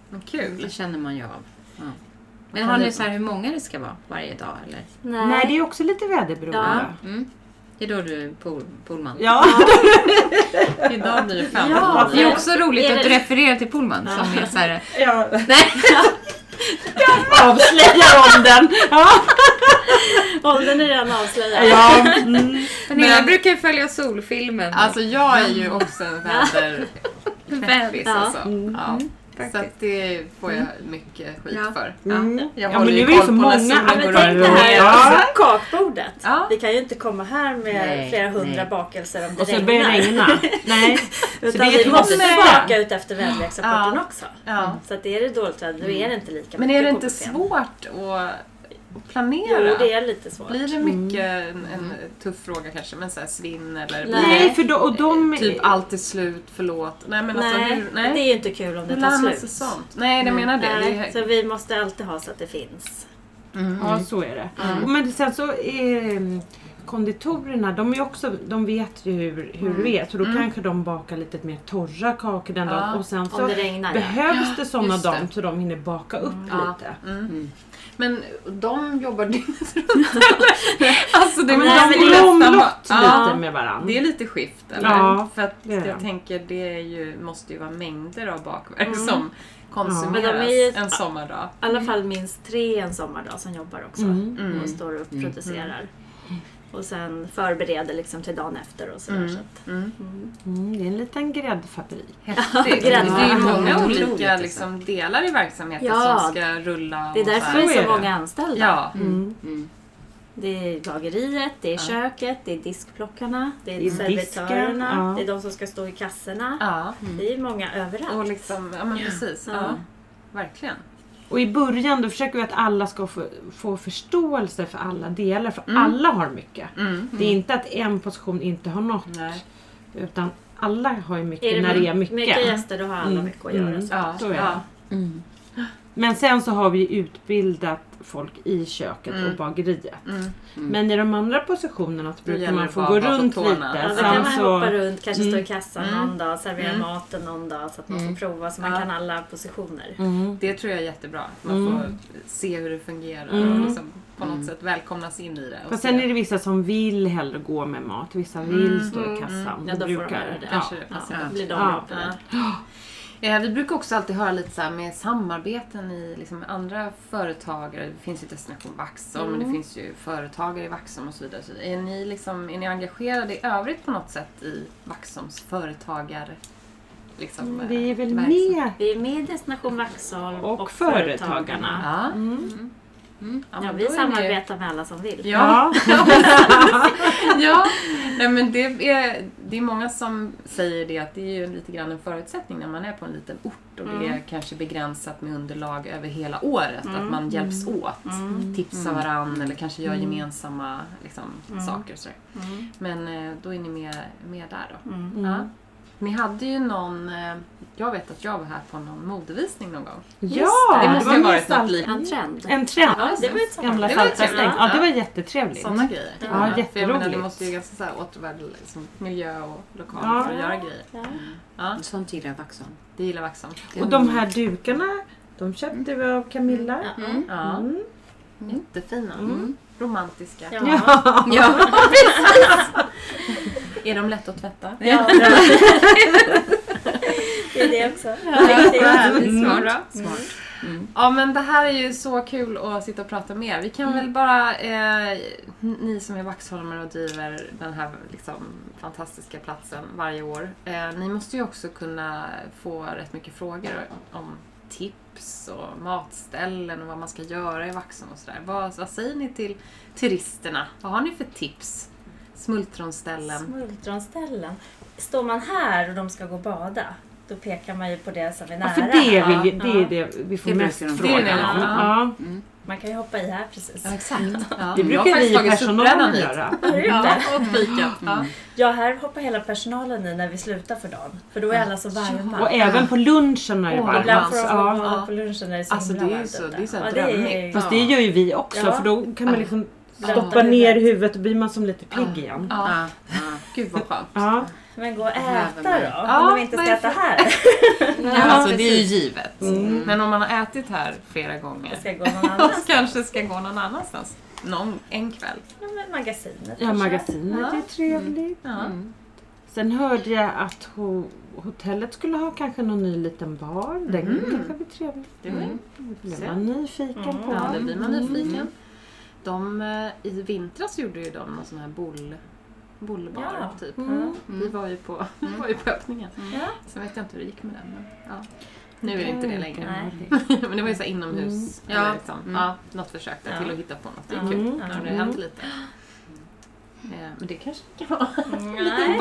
S2: Men Kul.
S1: Det känner man ju av. Ja. Men har ni så här hur många det ska vara varje dag? Eller?
S4: Nej.
S5: Nej, det är också lite väderberoende.
S1: Mm. Det är då du är pool, poolman.
S5: Ja.
S2: Idag blir det fem.
S4: Ja,
S1: Det är också roligt
S4: Är
S1: att
S4: det-
S1: du refererar till poolman som är så här...
S5: ja.
S1: Nej.
S5: Avslöjar om den. Ja.
S4: Åldern är redan avslöjad.
S5: ja. Mm.
S1: Pernilla
S2: Men-
S1: brukar ju följa solfilmen.
S2: Alltså jag är ju också en väderknäppis
S1: Väldigt.
S2: alltså. Ja. Mm. Så
S1: faktiskt.
S2: att det får jag mycket skit
S1: Ja.
S2: för.
S5: Mm.
S2: Jag
S5: Ja,
S2: håller
S5: men nu
S2: ju
S5: är det
S2: koll
S5: så
S2: på när
S5: många
S2: solen
S5: Ja, men
S2: går
S5: tänk
S2: upp.
S4: Det här
S5: Ja.
S4: är kakbordet.
S2: Ja.
S4: Vi kan ju inte komma här med
S1: Nej,
S4: flera hundra
S1: nej.
S4: bakelser om det
S5: Och så börjar det
S4: regnar.
S5: regna. Nej. Så
S4: Utan
S5: det är
S4: vi måste
S5: måste.
S4: baka ut efter väderleksrapporten också.
S2: Ja.
S4: Så att är det dåligt väder då är det inte lika
S2: Men
S4: mycket
S2: är det inte
S4: KBT.
S2: svårt att, att planera?
S4: Jo, det är lite svårt.
S2: Blir det mycket,
S5: Mm.
S2: en, en tuff fråga kanske, men så här svinn eller blir
S4: Nej.
S5: Nej, för då, och de...
S2: det typ allt är slut, förlåt. Nej men alltså
S4: nej,
S2: hur, nej.
S4: det är ju inte kul om det
S2: Hur
S4: tar
S2: lär man
S4: slut.
S2: sig sånt? Nej,
S5: Mm.
S2: jag menar det. det
S4: Nej, typ-
S2: är,
S4: så vi måste alltid ha så att det finns.
S5: Ja, så är det. Men sen så är mm, konditorerna, de, är också, de vet ju hur, hur det är. Så då kanske de bakar lite mer torra kakor den dagen. Och sen så
S4: det regnar, ja.
S5: behövs det sådana
S2: just det.
S5: dagar så de hinner baka upp lite.
S2: mm.
S1: Mm,
S2: Men de jobbar dygnet runt eller? Alltså det
S5: Ja, men
S2: måste
S5: de
S2: ju
S5: blir
S2: nästan
S5: omlott
S2: vara-
S5: lite med varandra.
S2: Det är lite skift eller?
S5: Ja,
S2: För att
S5: det är
S2: jag
S5: det.
S2: tänker det är ju, måste ju vara mängder av bakverk som konsumeras
S4: Mm. Ja. Men de är ju-
S2: en sommardag.
S4: I
S5: Mm.
S4: alla fall minst tre en sommardag som jobbar också. Och står och producerar. Och sen förbereder liksom till dagen efter och sådär. Så att,
S5: Mm, det är en liten gräddfabrik.
S2: Det, det är ju många
S1: Otroligt,
S2: olika
S1: alltså.
S2: liksom, delar i verksamheten
S4: Ja.
S2: som ska rulla.
S4: det är
S2: och så
S4: därför
S2: här.
S4: det är
S5: är
S4: så
S5: det.
S4: många anställda.
S2: Ja.
S5: Mm.
S1: mm.
S4: Det är bageriet, det är köket, det är diskplockarna, det är
S5: Det är disken,
S4: servitörerna,
S5: ja.
S4: det är de som ska stå i kassorna.
S2: ja.
S4: Det är många överallt.
S2: Och liksom, ja men precis. Ja.
S4: Ja.
S2: Verkligen.
S5: Och i början då försöker vi att alla ska få, få förståelse för alla delar. För alla har mycket.
S2: Mm.
S5: Det är inte att en position inte har något.
S2: Nej.
S5: Utan alla har ju mycket när det är mycket.
S4: gäster då har alla mycket att göra.
S5: Mm.
S4: Så.
S2: Ja.
S5: Så är det.
S2: ja.
S5: Men sen så har vi utbildat folk i köket
S2: Mm.
S5: och bageriet. Men i de andra positionerna så brukar
S2: gäller
S5: man
S2: det
S5: få
S2: bara
S5: gå
S2: att vara på
S5: runt
S2: tårna.
S5: lite.
S2: Ja,
S4: Alltså kan
S5: Sen
S4: man
S5: så, Mm.
S4: hoppa runt, kanske stå i kassan någon dag, servera maten någon dag så att man får prova så man kan alla positioner.
S5: Mm.
S2: Det tror jag är jättebra. Att man får se hur det fungerar och liksom på något sätt välkomnas in i det. Och
S5: och
S2: se. Mm,
S5: sen är det vissa som vill hellre gå med mat, vissa vill stå i kassan.
S4: Ja, då får de göra det.
S5: Ja.
S2: Kanske det passar.
S4: Då blir de
S5: Ja.
S4: jobbigt.
S2: Eh, Vi brukar också alltid höra lite så här med samarbeten i liksom med andra företagare. Det finns ju Destination Vaxholm, men det
S5: Mm.
S2: finns ju företagare i Vaxholm och så vidare. Så är, ni liksom, är ni engagerade i övrigt på något sätt i Vaxholms företagar... Liksom, eh,
S5: Vi är väl
S2: verksamhet?
S5: med
S4: Vi är med i Destination Vaxholm
S5: och, företagarna.
S2: Ja.
S4: Ja,
S2: men
S4: vi
S2: då är ni-
S4: samarbetar med alla som vill.
S2: Ja.
S5: Ja.
S2: ja. Nej, men det, är, det är många som säger det att det är ju lite grann en förutsättning när man är på en liten ort och
S5: Mm.
S2: det är kanske begränsat med underlag över hela året. Att man hjälps
S5: Mm.
S2: åt, tipsar varandra eller kanske gör gemensamma liksom,
S5: Mm.
S2: saker. Och sådär.
S4: Mm.
S2: Men eh, då är ni med, med där då. Mm.
S5: Mm.
S2: Ja. Ni hade ju någon, eh, jag vet att jag var här på någon modevisning någon gång.
S5: Ja,
S2: det måste
S5: var
S2: ju ha
S5: mer
S2: varit något
S5: salt-
S2: liknande.
S4: En trend.
S5: En trend.
S4: Ja, det var ett
S5: Gamla
S2: Det var ju
S5: saltfästing.
S2: trevligt.
S5: Ja, det var jättetrevligt.
S2: Sådana grejer.
S5: Ja,
S2: För jag menar, det
S5: jätteroligt.
S2: måste ju ganska så här återvärda liksom, miljö och lokal
S5: Ja.
S2: för att göra grejer.
S1: Sånt gillar jag Vaxholm.
S2: Det gillar Vaxholm.
S5: Och de här dukarna, de köpte vi av Camilla.
S2: Ja. Jättefina. Mm. Romantiska.
S4: Mm. Ja.
S1: Ja,
S2: Är de lätta att tvätta?
S4: Ja. det är det också.
S1: Mm.
S4: Mm.
S2: Smart. Mm. Smart. Ja men det här är ju så kul att sitta och prata med er. Vi kan
S4: Mm.
S2: väl bara, eh, ni som är Vaxholmare och driver den här liksom, fantastiska platsen varje år. Eh, ni måste ju också kunna få rätt mycket frågor om tips och matställen och vad man ska göra i Vaxholm och sådär. Vad, vad säger ni till turisterna? Vad har ni för tips? Smultronställen?
S4: Smultronställen. Står man här och de ska gå och bada, då pekar man ju på det som är nära.
S5: Ja, för det, vill, ju- det är det vi får
S1: Det
S5: mest
S1: brukar de
S5: frågor om.
S2: fråga.
S5: Ja.
S4: Man kan ju hoppa i här precis.
S2: exakt. Ja.
S5: Det
S2: Mm. Jag har
S5: brukar
S2: faktiskt
S5: vi i
S2: tagit
S5: personalen
S2: surprädan hit.
S5: göra.
S4: Ja.
S2: Och Mm. fika. Ja.
S4: ja, här hoppar hela personalen i när vi slutar för dagen. För då är alla så varma.
S5: Och även på lunchen är det
S2: Åh, det
S5: varmt.
S2: blir-
S4: Ibland får de gå
S5: Ja.
S4: och bada
S2: Ja.
S4: på lunchen när det är så
S2: Alltså,
S4: himla
S2: det är ju
S4: varmt
S2: så-
S4: ute.
S2: det är så här
S4: Ja, det är-
S2: drömmigt.
S5: Fast det gör ju vi också
S4: Ja.
S5: för då kan man liksom stoppa
S4: huvudet.
S5: ner huvudet och blir man som lite pigg igen.
S2: Ja. Gud vad skönt.
S5: Ja.
S4: Men gå och äta då,
S2: Ja,
S4: om de inte
S2: vad
S4: ska
S2: är
S4: äta här.
S2: alltså det är ju givet. Men om man har ätit här flera gånger
S4: Ska gå någon
S2: och
S4: annan.
S2: kanske ska gå någon annanstans. Någon, en kväll.
S4: Ja, men Magasinet
S5: ja,
S4: kanske.
S5: magasinet är trevligt.
S2: Ja.
S1: Mm.
S5: Sen hörde jag att ho- hotellet skulle ha kanske någon ny liten bar. Den
S2: Mm.
S5: kanske blir trevlig.
S2: Det var ju-
S5: Blir man nyfiken på.
S2: Mm. ja, Mm. det blir man nyfiken. De, eh, I vintras gjorde ju de någon sån här boll, bollbar
S4: Ja.
S2: typ.
S5: Mm.
S2: Vi var ju på, var ju på öppningen.
S4: Ja.
S2: Sen vet jag inte hur det gick med den. Men, ja. Nu är det inte det längre.
S4: Nej.
S5: Mm.
S2: Men det var ju så här inomhus. Eller liksom, ja, något försök där till att hitta på något. Det är kul.
S5: Mm.
S2: När det händer lite. Eh, Men det kanske kan vara
S4: Nej.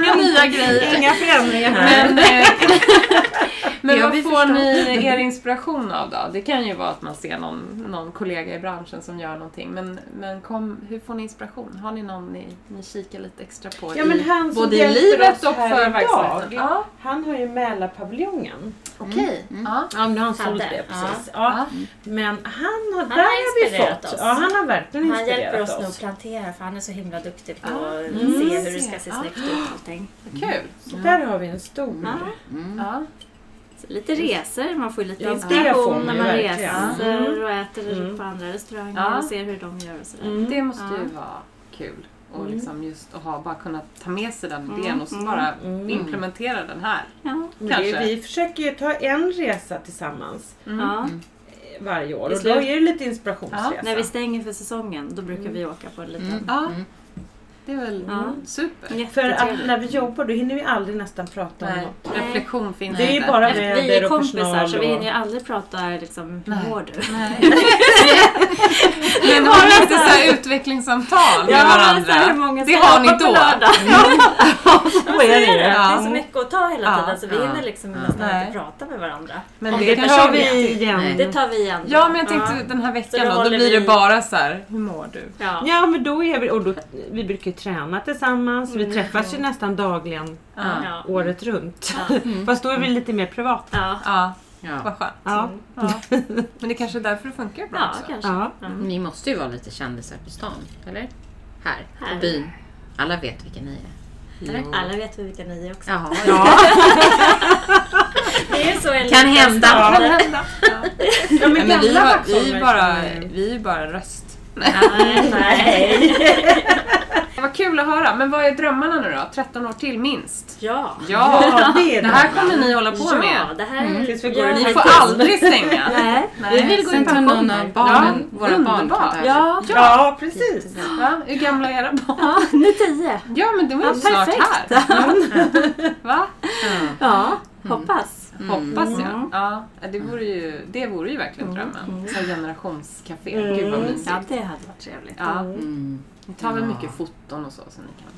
S2: inga nya grejer.
S5: Inga förändringar här.
S2: Men, eh, men
S1: Det har
S2: vad
S1: vi
S2: får
S1: förstått.
S2: ni er inspiration av då? Det kan ju vara att man ser någon, någon kollega i branschen som gör någonting. Men, men kom, hur får ni inspiration? Har ni någon ni, ni kikar lite extra på?
S5: Ja, men
S2: i,
S5: han som
S2: både i
S5: hjälper
S2: livet
S5: oss
S2: och
S5: här
S2: för
S5: idag.
S2: verksamheten? Ja,
S5: Han har ju Mälarpaviljongen.
S2: okej. Mm. Ja.
S5: Ja, men han
S4: Hade.
S5: sålde det
S4: Ja.
S5: precis. Ja. Men han har, där
S4: har
S5: har vi
S4: inspirerat
S5: fått.
S4: oss.
S5: Ja, han har verkligen
S4: Han hjälper
S5: inspirerat
S4: oss nu att
S5: oss.
S4: plantera för han är så himla duktig på att
S5: Mm.
S4: se hur det ska se snyggt ut och allting.
S2: Vad Kul!
S5: Så där har vi en stor.
S4: Ja.
S1: Mm.
S2: Ja.
S4: Så lite resor, man får ju lite
S5: Ja, det får man
S4: inspiration när
S5: ju
S4: man
S5: verkligen. Mm.
S4: reser och äter på andra restauranger
S2: Ja.
S4: och ser hur de gör och sådär.
S5: Mm.
S2: Det måste ju vara kul. Och liksom just att ha, bara kunna ta med sig den idén och så bara
S5: Mm.
S2: implementera den här.
S4: Ja.
S5: Men det,
S2: Mm. Kanske.
S5: vi försöker ju ta en resa tillsammans
S2: Mm.
S4: Ja.
S5: eh, varje år
S4: I
S5: och då
S4: slut-
S5: är det lite inspirationsresa.
S4: När vi stänger för säsongen då brukar
S5: Mm.
S4: vi åka på en
S1: Mm.
S4: liten...
S2: Ja. Det är väl
S4: Ja.
S2: super.
S5: För
S4: Jättetrevligt.
S5: att när vi jobbar då hinner vi aldrig nästan prata om
S2: Nej,
S5: något.
S2: reflektion finns
S5: Det är ju
S2: inte.
S5: bara
S4: Vi
S5: väder
S4: är
S5: och
S4: kompisar
S5: personal.
S4: så vi
S5: och-
S4: hinner ju aldrig prata liksom, hur mår du?
S2: Men har ni inte så här utvecklingssamtal med varandra?
S4: Så här, hur många
S2: det
S4: ska
S2: har ni
S4: jobba på
S2: då.
S4: lördag?
S5: Så är det ju.
S4: Det är
S2: Ja.
S4: så mycket att ta hela
S2: Ja.
S4: tiden så vi hinner liksom nästan
S2: Nej.
S4: inte prata med varandra.
S2: Men
S5: Det tar vi igen.
S4: Det tar vi igen.
S2: Ja, men jag tänkte den här
S4: Så
S2: veckan
S4: då
S2: då, då
S4: håller
S2: blir det
S4: vi-
S2: bara så här, hur mår du?
S4: Ja.
S5: Ja men då är vi, och då, vi brukar ju träna tillsammans, vi träffas ju nästan dagligen
S4: Ja. Mm.
S5: året runt. Fast då är vi lite mer privat.
S4: Ja.
S2: Ja,
S1: Ja.
S2: Vad skönt.
S5: Ja.
S2: Men det kanske är därför det funkar bra
S4: Ja,
S2: också.
S4: kanske.
S5: ja.
S1: Ni måste ju vara lite kändisar på stan, eller? Här, på
S4: Här.
S1: byn. Alla vet vilka ni är.
S4: Alla vet ju vilka ni är också.
S1: Jaha,
S4: Det är ju så enligt
S1: Kan hända.
S4: staden.
S1: Kan
S5: ja men
S2: Nej, men vi,
S5: gamla
S2: har, vi, är ju
S5: Vaxholmare
S2: bara,
S5: känner ju.
S2: vi är ju bara en röst.
S4: Nej, nej.
S2: Vad kul att höra. Men vad är drömmarna nu då? 13 år till minst?
S4: Ja.
S2: Ja!
S5: Ja, det är
S2: Det här
S5: det.
S2: kommer ni hålla på
S4: Ja,
S2: med.
S4: det här mm,
S5: tills vi går i
S2: Ni får aldrig stänga.
S4: Nej.
S2: Nej.
S1: vill gå i pension. någon av barnen,
S2: Ja,
S1: våra barn
S2: underbart.
S1: kan ta över.
S4: Ja,
S5: Ja, precis.
S2: Va? Hur gamla är era barn?
S4: ja, nu tio.
S2: Ja, men det var ju
S4: Ja,
S2: snart
S4: perfekt.
S2: här. Va?
S4: Ja, hoppas.
S2: Hoppas jag. Ja, det vore ju, det vore ju verkligen drömmen. Så här generationscafé. Gud vad mysigt.
S4: Ja, det hade varit trevligt.
S2: Ja.
S1: Mm.
S2: Ni tar väl mycket foton och så så ni kan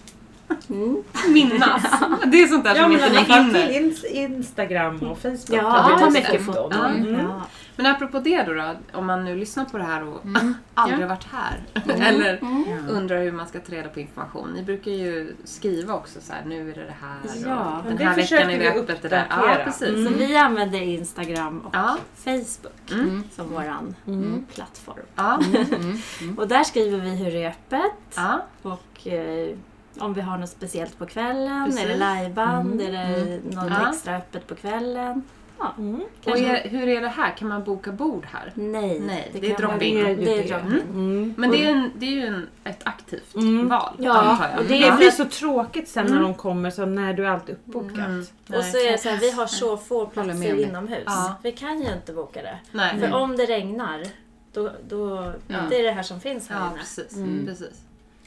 S4: Mm.
S2: minnas. Det är sånt där
S5: Ja
S2: som
S5: men i
S2: inte ni
S5: alla fall till
S2: Alltså, hinner.
S5: ins- Instagram och Facebook.
S4: Ja,
S5: har vi
S4: ta
S5: testat.
S4: mycket foton.
S2: Ja.
S5: Mm.
S4: Ja.
S2: Men apropå det då, då, om man nu lyssnar på det här och
S4: Mm.
S2: aldrig varit här eller undrar hur man ska ta reda på information. Ni brukar ju skriva också så här, nu är det det här
S4: Ja,
S2: och
S5: men
S2: den
S5: det
S2: här veckan är
S5: försöker
S2: det
S5: vi
S2: öppet det där. Ja,
S5: uppdatera.
S2: precis.
S4: Så vi använder Instagram och
S2: Ja,
S4: Facebook
S1: Mm.
S4: som
S2: Mm.
S4: våran
S5: Mm.
S4: plattform.
S2: ja, Mm.
S4: Och där skriver vi hur det är öppet
S2: ja.
S4: och eh, om vi har något speciellt på kvällen,
S2: Precis. Mm.
S4: är det liveband, är det något
S2: Ja.
S4: extra öppet på kvällen? Ja,
S2: Och
S4: kanske.
S2: är, hur är det här? Kan man boka bord här?
S4: Nej,
S2: Nej, det är
S4: kan man-
S2: drop-in.
S4: Det är drop-in.
S5: Mm.
S2: Men det är, en, det är ju en, ett aktivt val
S4: Mm. Ja,
S2: antar jag.
S4: och det är
S5: Det
S4: för
S5: blir
S4: att
S5: så tråkigt sen när de kommer, så när du är allt uppbokat.
S2: Mm.
S4: Och så är det så här, vi har så få
S1: Håller med om
S4: platser
S1: det.
S4: inomhus.
S2: Ja.
S4: Vi kan ju inte boka det.
S2: Nej.
S4: För om det regnar, då, då, det är det här som finns här Mm.
S2: Ja,
S4: inne.
S2: precis. precis.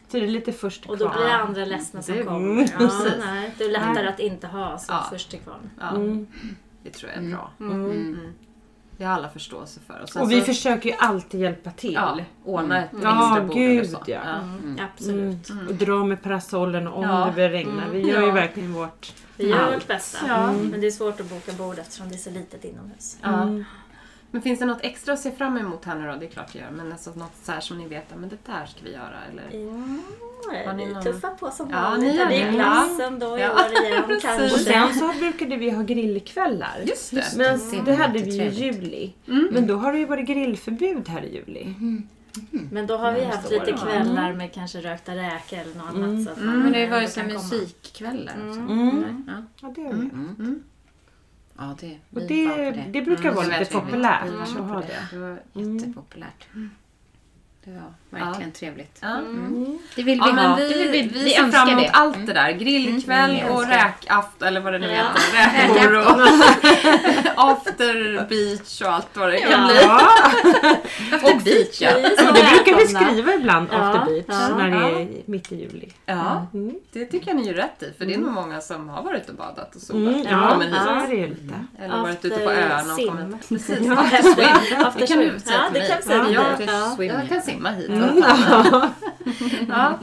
S5: Så det är lite först
S4: Och då blir det
S5: kvar.
S4: andra ledsna som
S2: Det-
S4: kommer. Ja,
S2: precis.
S4: nej, det är lättare att inte ha som
S2: Ja.
S4: först till kvarn.
S2: Ja,
S5: Mm.
S2: Det tror jag är bra. Mm. Det har alla förståelse för. sen
S5: Och vi
S2: så-
S5: försöker ju alltid hjälpa till.
S2: ja, ordna ett extra
S5: Ja,
S2: bord eller
S5: gud
S2: så.
S5: ja.
S2: Mm.
S4: Absolut.
S5: Och dra med parasollen om
S2: Ja.
S5: det börjar regna. Vi gör ju verkligen vårt.
S4: Vi gör vårt bästa. Men det är svårt att boka bord eftersom det är så litet inomhus.
S2: Ja. Men finns det något extra att se fram emot här nu då? Det är klart det gör. Men alltså något så här som ni vet, ja, men det där ska vi göra. Eller?
S4: Mm.
S2: Har ni
S4: Vi
S2: någon-
S4: tuffar på som
S2: Ja,
S4: vanligt.
S2: ni gör
S4: Ja, det
S2: det.
S4: är glassen då i
S2: Ja.
S4: år igen
S2: Precis.
S5: Och
S4: kanske.
S5: sen så brukade vi ha grillkvällar.
S2: Just det.
S5: Men
S1: det
S5: det
S1: var
S5: hade vi ju i
S1: jättetrevligt.
S5: juli. Men då har det ju varit grillförbud här i juli.
S4: Men då har vi haft lite
S2: år.
S4: kvällar med kanske rökta räkor eller något annat. Så att man
S1: Mm. Men det har ju
S4: ändå
S1: varit så här
S4: kan komma.
S1: musikkvällar också. Ja.
S5: Ja, det, har vi.
S1: ja, det
S5: Och
S1: vi var
S5: det,
S1: på
S5: det brukar vara
S2: det är
S5: lite
S2: väldigt
S5: populärt
S1: Vi var
S5: att
S1: på
S5: ha
S1: det. mm.
S5: det.
S2: Det var-
S1: Jättepopulärt. Det var verkligen trevligt. Mm.
S2: Ja.
S1: Det vill vi
S2: Ja, men
S1: ha.
S2: vi,
S1: det vill
S2: vi,
S1: vi,
S2: ser
S1: önskar
S2: fram emot
S1: det.
S2: allt det där. Grillkväll och räkaft eller vad det nu heter. Räkor och after beach och allt vad det kan bli.
S5: Ja,
S1: Efter beach, ja.
S4: Vi är så
S5: och det brukar vi
S4: välkomna.
S5: skriva ibland
S4: Ja,
S5: after beach
S4: ja,
S5: när det är mitt i juli.
S2: Ja, det tycker jag ni gör rätt i. För det är nog många som har varit och badat och solat.
S5: Mm,
S2: när de
S5: ja,
S2: kommer hit.
S5: så är det Mm. ju lite.
S2: Eller varit
S4: After
S2: ute på öarna och
S4: sim.
S2: kommit. Precis.
S4: After
S2: Det kan du
S4: swim.
S2: säga
S4: Ja,
S2: till
S4: det
S2: mig.
S4: kan vi säga till
S2: Ja.
S4: dig. Ja.
S2: Jag kan simma hit. Mm. ja.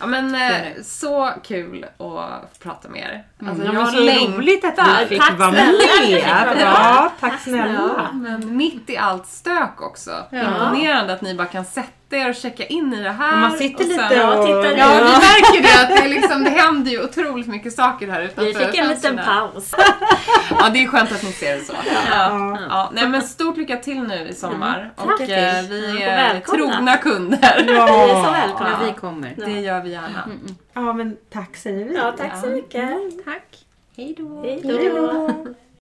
S2: ja, men eh, så kul att få prata med er. Alltså,
S5: Mm. Ja,
S2: jag
S5: men
S2: har
S5: så roligt att vi fick
S4: Tack
S5: vara med.
S4: snälla.
S5: Ja, tack
S2: Ja,
S5: snälla.
S2: men mitt i allt stök också. Imponerande att ni bara kan sätta er och checka in i det här.
S5: Man sitter
S2: och sen-
S5: lite
S4: Ja,
S5: och...
S4: titta,
S2: Ja, vi märker det. Att det, är liksom, det händer ju otroligt mycket saker här utanför
S4: Vi fick en liten
S2: fönstren.
S4: paus.
S2: Ja, det är skönt att ni ser det så. Ja. Ja. Nej, men stort lycka till nu i sommar. Och eh, vi
S4: Och
S2: är
S4: välkomna.
S2: trogna kunder.
S4: Vi är så
S5: Ja.
S4: välkomna.
S1: Ja, vi kommer.
S2: Det gör vi gärna.
S5: ja, men tack säger vi.
S4: Ja, tack så mycket.
S1: Tack. Mm. Hej då.
S4: Hej då.